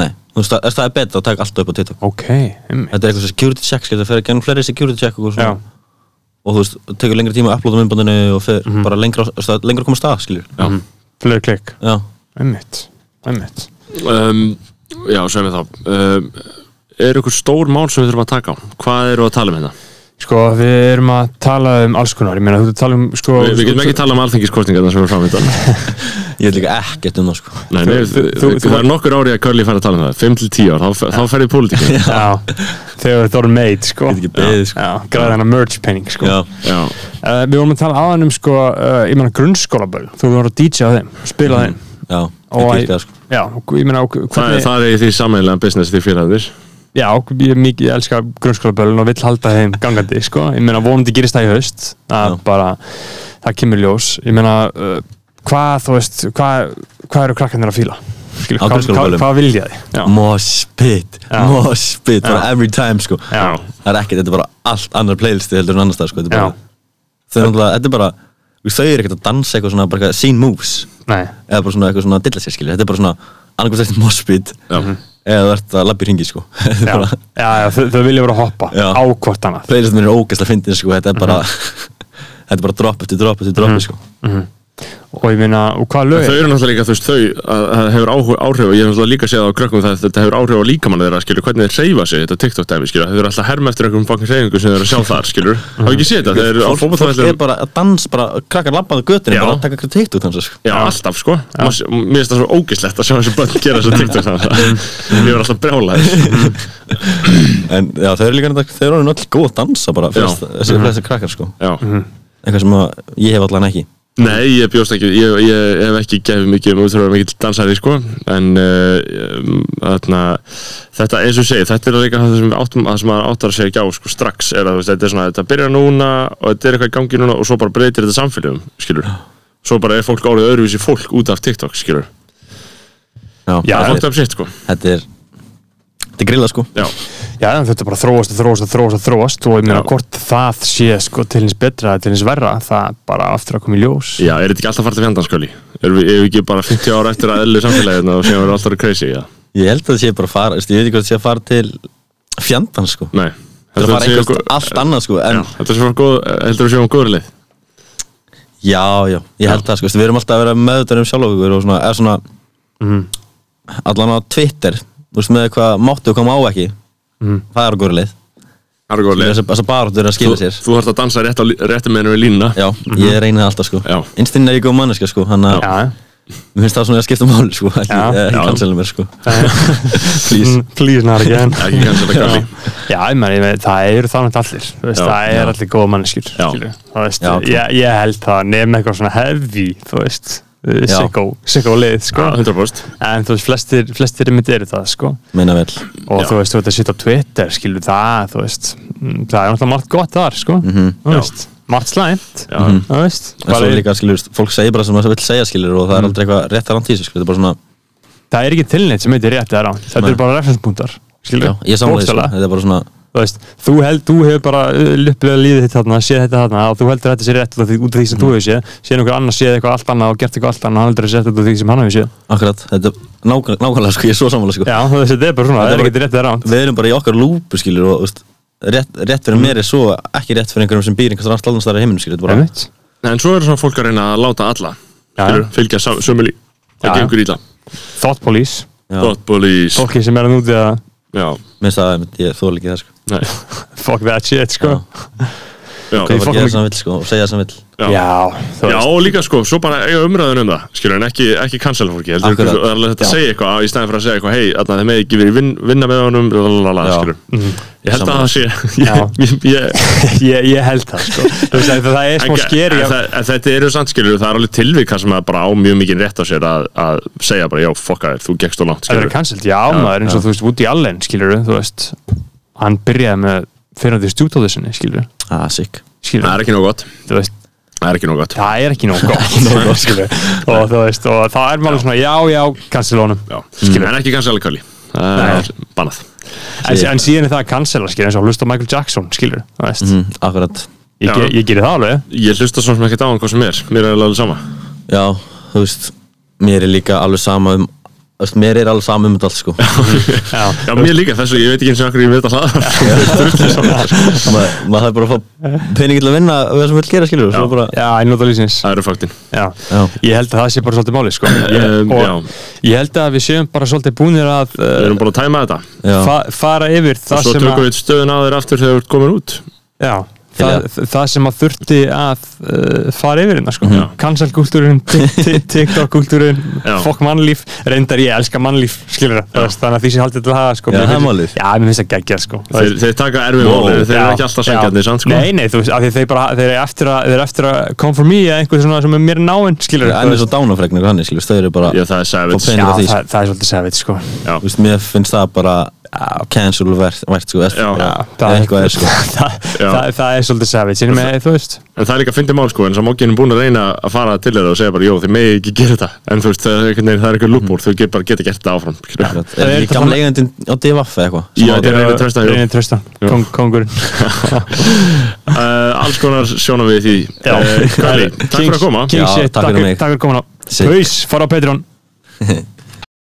D: Nei, þú veist, það, það er betra að taka alltaf upp á TikTok
A: Ok, einmitt
D: þetta er eitthvað sem security check skilur, það fer að genna fleiri security check
A: Já,
D: og, svona, og þú veist, tekur lengri tíma að uploada myndbandinu og fer bara lengra, á- stað, lengra að koma af stað skilur já,
A: fleiri klikk
D: já.
A: Einmitt, einmitt
C: Um, já, segjum við þá um, Er ykkur stór mál sem við þurfum að taka á? Hvað eru að tala um hérna?
A: Sko, við erum að tala um alls konar Ég meina, þú ert að tala um, sko
C: Við, við getum ekki tala um alþengiskostningarna sem eru framöndan
D: ég veit líka ekkert um það sko
C: Nei, nei,
A: Þú-
C: við-
A: þú-
C: við-
A: þú-
C: það er nokkur ári að Curly fara að tala um það 5-10 ár, þá, þá ferði í pólitíkinu
A: Já, þegar þetta voru meit, sko
D: Ég get ekki beðið, sko.
A: Já, græði hennar merch penning, sko
D: já,
C: Já,
A: Uh, Við vorum að tala aðan um, sko, uh, ég meina, grunnskólaböll Þú voru að DJ á þeim, spila á þeim
D: já,
A: Og
D: ég
A: að-
D: dýrka það, sko.
A: Já, og ég meina, og
C: Mhm. það,
A: hvernig
C: það er í því sammeðlega business því félagarnir
A: Já, ég, er mikið, ég elska grunnskólaböllun og vill halda þeim gangandi, sko. Ég meina, vonandi gerist það í haust, að
D: Já.
A: bara, það kemur ljós. Ég meina, uh, hvað, þú veist, hvað, hvað eru krakkarnir að fíla? Skilur,
D: Á
A: hvað, hvað,
D: grunnskólaböllum?
A: hvað vilja þið? Já,
D: mosh pit,
A: Já.
D: mosh pit bara every time sko
A: já,
D: það er ekkert, þetta er bara allt annar playlisti heldur en annar stað sko, þetta
A: já,
D: er bara, þau er náttúrulega, þetta er bara þú veist, þau eru ekkert að dansa eitthvað svona, bara eitthvað scene moves
A: nei,
D: eða bara svona eitthvað svona dilla sér skilur, þetta er bara svona annarkvæmst eftir moshpit eða þú ert að labba í ringi sko
A: já, já, já þau, þau vilja vera að hoppa
D: Já.
A: á hvort annað. Mhm.
D: playlistin mín er ógæslega fyndin sko, þetta er bara þetta er bara dropp eftir dropp eftir dropp sko
A: og ég meina, og hvað lög
C: Þau
A: er
C: eru náttúrulega líka, þú veist, þau að, að hefur áhrif, áhrif og ég hef náttúrulega líka séð á krökkum það að þetta hefur áhrif á líkamann þeirra, skilur, hvernig þeir reyfa sig þetta TikTok dæmi, skilur, þau eru alltaf að herma eftir einhverjum fokkin reyfingu sem þeir eru að sjá þar, skilur hafa ekki séð þetta, þeir eru á
D: Fólk, fólk er
C: fótbolltæðilegum
D: bara að dansa, bara krakkar labbaðu göttinu
C: Já.
D: bara að taka eitthvað teikt út hans sko.
C: Já, alltaf sko Mas- Mér finnst það svo ógislegt að sjá þessu börn gera þessu TikTok þannig að Ég var alltaf brjálaður
D: En já, þau eru líka nefnda, þau eru orðin öll góð að dansa bara
C: Já.
D: flest,
A: Mhm.
D: þessi flestir krakkar sko
C: Já
D: Eitthvað sem að ég hef allan ekki
C: Nei, ég bjóst ekki Ég, ég hef ekki gefið mikið um útrúlega mikið dansari sko En uh, þarna, þetta, eins og ég segi Þetta er líka það sem, við áttum, það sem maður áttar að segja ekki á sko, strax er að þú veist, þetta er svona Þetta byrjar núna og þetta er eitthvað í gangi núna og svo bara breytir þetta samfélögum, skilur Svo bara er fólk árið öðruvísi fólk út af TikTok, skilur
A: Já,
C: Það er
D: þetta,
C: fólk af sitt sko
D: er, þetta er Þetta er grilla sko
C: Já,
A: Já, en þetta er bara að þróast og þróast og þróast og þróast og ég meina
C: Já.
A: hvort það sé sko til hins betra eða til hins verra, það er bara aftur að koma í ljós
C: Já, er þetta ekki alltaf farið til fjandanskjöli? Erum við, erum við ekki bara 50 ára eftir að eðlu samfélaginu og séum við alltaf að vera crazy, já?
D: Ég held að það sé bara að fara, veist, ég veit ekki hvað það sé að fara til fjandan sko
C: Nei
D: Það er að fara
C: séum
D: einhvers
C: gó-
D: allt annað sko En
C: Já, Þetta séum góð, heldur við séum góður leið
D: Já, já, ég held það sko, við erum alltaf að vera meðutur um sjálfokur og svona, eða svona
C: Mhm.
D: allan á Twitter þú veist með hvað máttu og hvað má ekki það er okkur leið
C: Það er góður Mhm. leið
D: þess að baráttur eru að skila sér
C: Þú, þú þarfst að dansa rétt, á lí- rétt með hennu í línuna
D: Já, ég reyni það alltaf sko
C: Já.
D: Innstinn er ég góð manneska sko Þannig að
A: Já,
D: mér finnst það svona að skipta máli sko Ekki,
A: Já.
D: eh, ekki
C: Já.
D: cancela mér sko
A: please, please not again
C: Ekki kannski þetta kalli
A: Já, ég meina, ég meina, það eru þannig allir þú veist,
C: Já,
A: það
D: já.
A: er allir góða manneskjur
C: Já.
A: skilur. það veist,
D: Já, trú.
A: ég, ég held það nefn eitthvað svona heavy, þú veist eh,
D: Já.
A: sicko, sicko leið, sko
C: 100%
A: en þú veist, flestir, flestir mitt eru það, sko
D: Meina vel
A: og
C: Já.
A: þú veist, þú veist að sitja á Twitter, skilur það þú veist, mm, það er náttúrulega margt gott þar, sko þú veist, margt slæmt
C: Já. Mhm.
A: þú veist,
D: Mhm. En svo
A: bara,
D: líka skilur, fólk segir bara sem það vil segja skilur Og
A: Mm.
D: það er aldrei eitthvað rétt að rand í þessu skilur Þetta er bara svona
A: það er ekki tilneitt sem heitir rétt eða rangt, þetta
D: Nei.
A: eru bara referenspunktar skilur,
D: Já, ég samlega sko
A: Bókstaflega.
D: Þetta er bara svona
A: þú veist, þú held, þú hefur bara luppið líðið þitt þarna, séð þetta þarna og þú heldur að þetta sér rétt út af því- út af því sem þú hefur séð séð einhver annar séð eitthvað allt annað og gert eitthvað allt annað og hann heldur að sér rétt út af því sem hann hefur séð
D: Akkurat, þetta er nákvæmlega, nákvæmlega sko Ég er svo samlega sko
A: já, þú veist, þetta er bara svona,
D: Þetta
A: það er
D: er
A: ekkert rétt eða ránt
D: Við erum bara í okkar lúpu skilur Og þú veist, rétt, rétt
A: Mm.
D: fyrir mér er svo Ekki rétt fyrir einhverjum sem býr einhvers annars allans þar í heiminu skilur Þetta er bara
A: einmitt,
C: Nei, En svo er svona fólk að reyna að láta alla
A: Já,
C: skilur, Fylgja sá- sömu lí
A: Já,
C: Það
A: já.
C: gengur ítla
A: thought police
D: Já.
C: Dot bullies
A: fólki sem er að núti að
C: Já
D: Mér finnst það, einmitt, ég þóla ekki það sko
C: Nei
A: fuck that shit, sko
C: Já
D: Það er bara
A: fólk
D: að gera
A: líka-
D: sem það vil sko Og segja sem það vil
C: Já.
A: já, þú
C: Já,
A: veist,
C: og líka sko, svo bara eiga umræðun um það skilur, en ekki, ekki cancela fólki heldur,
D: Akkurat.
C: það er alveg þetta að
D: Já.
C: segja eitthvað í staðin fyrir að segja eitthvað, hei, þarna, þeir með ekki verið vin, vinna með honum, lalala,
D: Já.
C: skilur ég held að
D: Sammála.
C: það sé
A: Mhm. Já.
C: ég, ég, ég,
A: ég, ég held það, sko þú veist, það, það er smá
C: en,
A: skeri
C: en, það, en þetta eru samt skilur, það er alveg tilvika sem að bara á mjög mikið rétt á sér að, að segja bara, já, fokka þér, þú gekkst og langt
A: að vera
C: skilur,
A: cancelled, já, maður eins og þú veist, Woody Allen, skilur þú veist, hann byrjaði með fyrrandi stjúdóðusinni, skilur
D: Ah, sick
C: það er ekki nóg gott
A: þú veist,
C: það er ekki nóg gott
A: það er ekki nóg gott nóg gott, skilur og þú veist, og það er maður svona, já, já, cancel honum
C: já, skilur, en ekki cancela kalli það er bannað
A: en, en síðan er það að cancela, skilur, eins og hlusta á Michael Jackson, skilur, þú veist
D: mm, Akkurat
A: ég, ge-
C: Já.
A: ég gerir það alveg,
C: ég hlusta svo sem ekki dáan hvað sem er, mér er alveg sama
D: Já, þú veist Mér er líka alveg sama um þú veist, Mér er alveg sama um þetta allt sko
C: já, mér líka þessu, ég veit ekki eins og okkur ég veit að hlaða
D: Ma, Maður þarf bara að fá peningi til að vinna og það sem vill gera skilur Já, bara,
A: já, ég nota lýsins
C: það eru faktin
A: já.
D: Já.
A: ég held að það sé bara svolítið máli, sko ég,
C: Um, já.
A: og ég held að við séum bara svolítið búinir að
C: við
A: uh,
C: erum búin að tæma þetta
D: já.
A: fa fara yfir
C: og
A: það
C: svo
A: sem
C: tökum
A: að
C: við stöðun á þér aftur þegar þú ert komin út
A: Já, það, það sem að þurfti að uh, fara yfir hérna sko
C: Já.
A: Cancel-kultúrin, TikTok-kultúrin
C: Já.
A: Fokk mannlíf, reyndar ég elska mannlíf skilur það, veist, þannig að því sem haldið til að hafa sko,
D: Já,
A: mér
D: það er
A: finnst-
D: málið.
A: Já, mér finnst það geggja sko Það
C: þeir,
A: veist,
C: þeir taka erfið
D: Wow.
C: málið, þeir eru
A: já,
C: ekki alltaf
A: já.
C: sangjandi sann sko
A: Nei, nei, þú veist, af því þeir bara, þeir eru eftir að, þeir eru eftir að come for me eða einhver svona sem er mér náinn, skilur
D: En eins og dánafregnir og hann skilur Þau eru bara
C: Já, það er
D: fá
C: savage
A: Já,
D: peningi á því sko.
A: það, það er svolítið savage sko
D: Þú veist, Mér finnst það bara cancel vært, vært sko, eftir,
C: Já.
D: bara,
A: Já,
D: það er eitthvað er sko
A: það,
C: Já.
A: það, það er svolítið savage, en með, þú veist
C: En það er líka fyndið mál sko, en svo mókinn er búin að reyna að fara til þeirra og segja bara, jó, þið megi ekki gera þetta En þú veist, það er, einhvern veginn- það er eitthvað lúpur, þau get bara geta gert þetta áfram
D: Er
C: skilurðu.
D: það
A: er
D: ekki
A: þetta
D: gamla
A: þannig-
D: eigandinn á divaf eða eitthvað
C: Já,
D: sem á-
C: þetta er Reynir Trausta, jú.
A: Reynir Trausta,
C: Jú.
A: kong, kongurinn
C: uh, Alls konar sjónum við í því
A: Já.
C: uh, Kali, takk fyrir að koma
A: King
D: Já,
A: Eh, shit,
D: takk
A: takk
D: fyrir
A: fyrir,
D: mig.
A: takk fyrir komuna
D: Sick.
A: Haus, fara á Patreon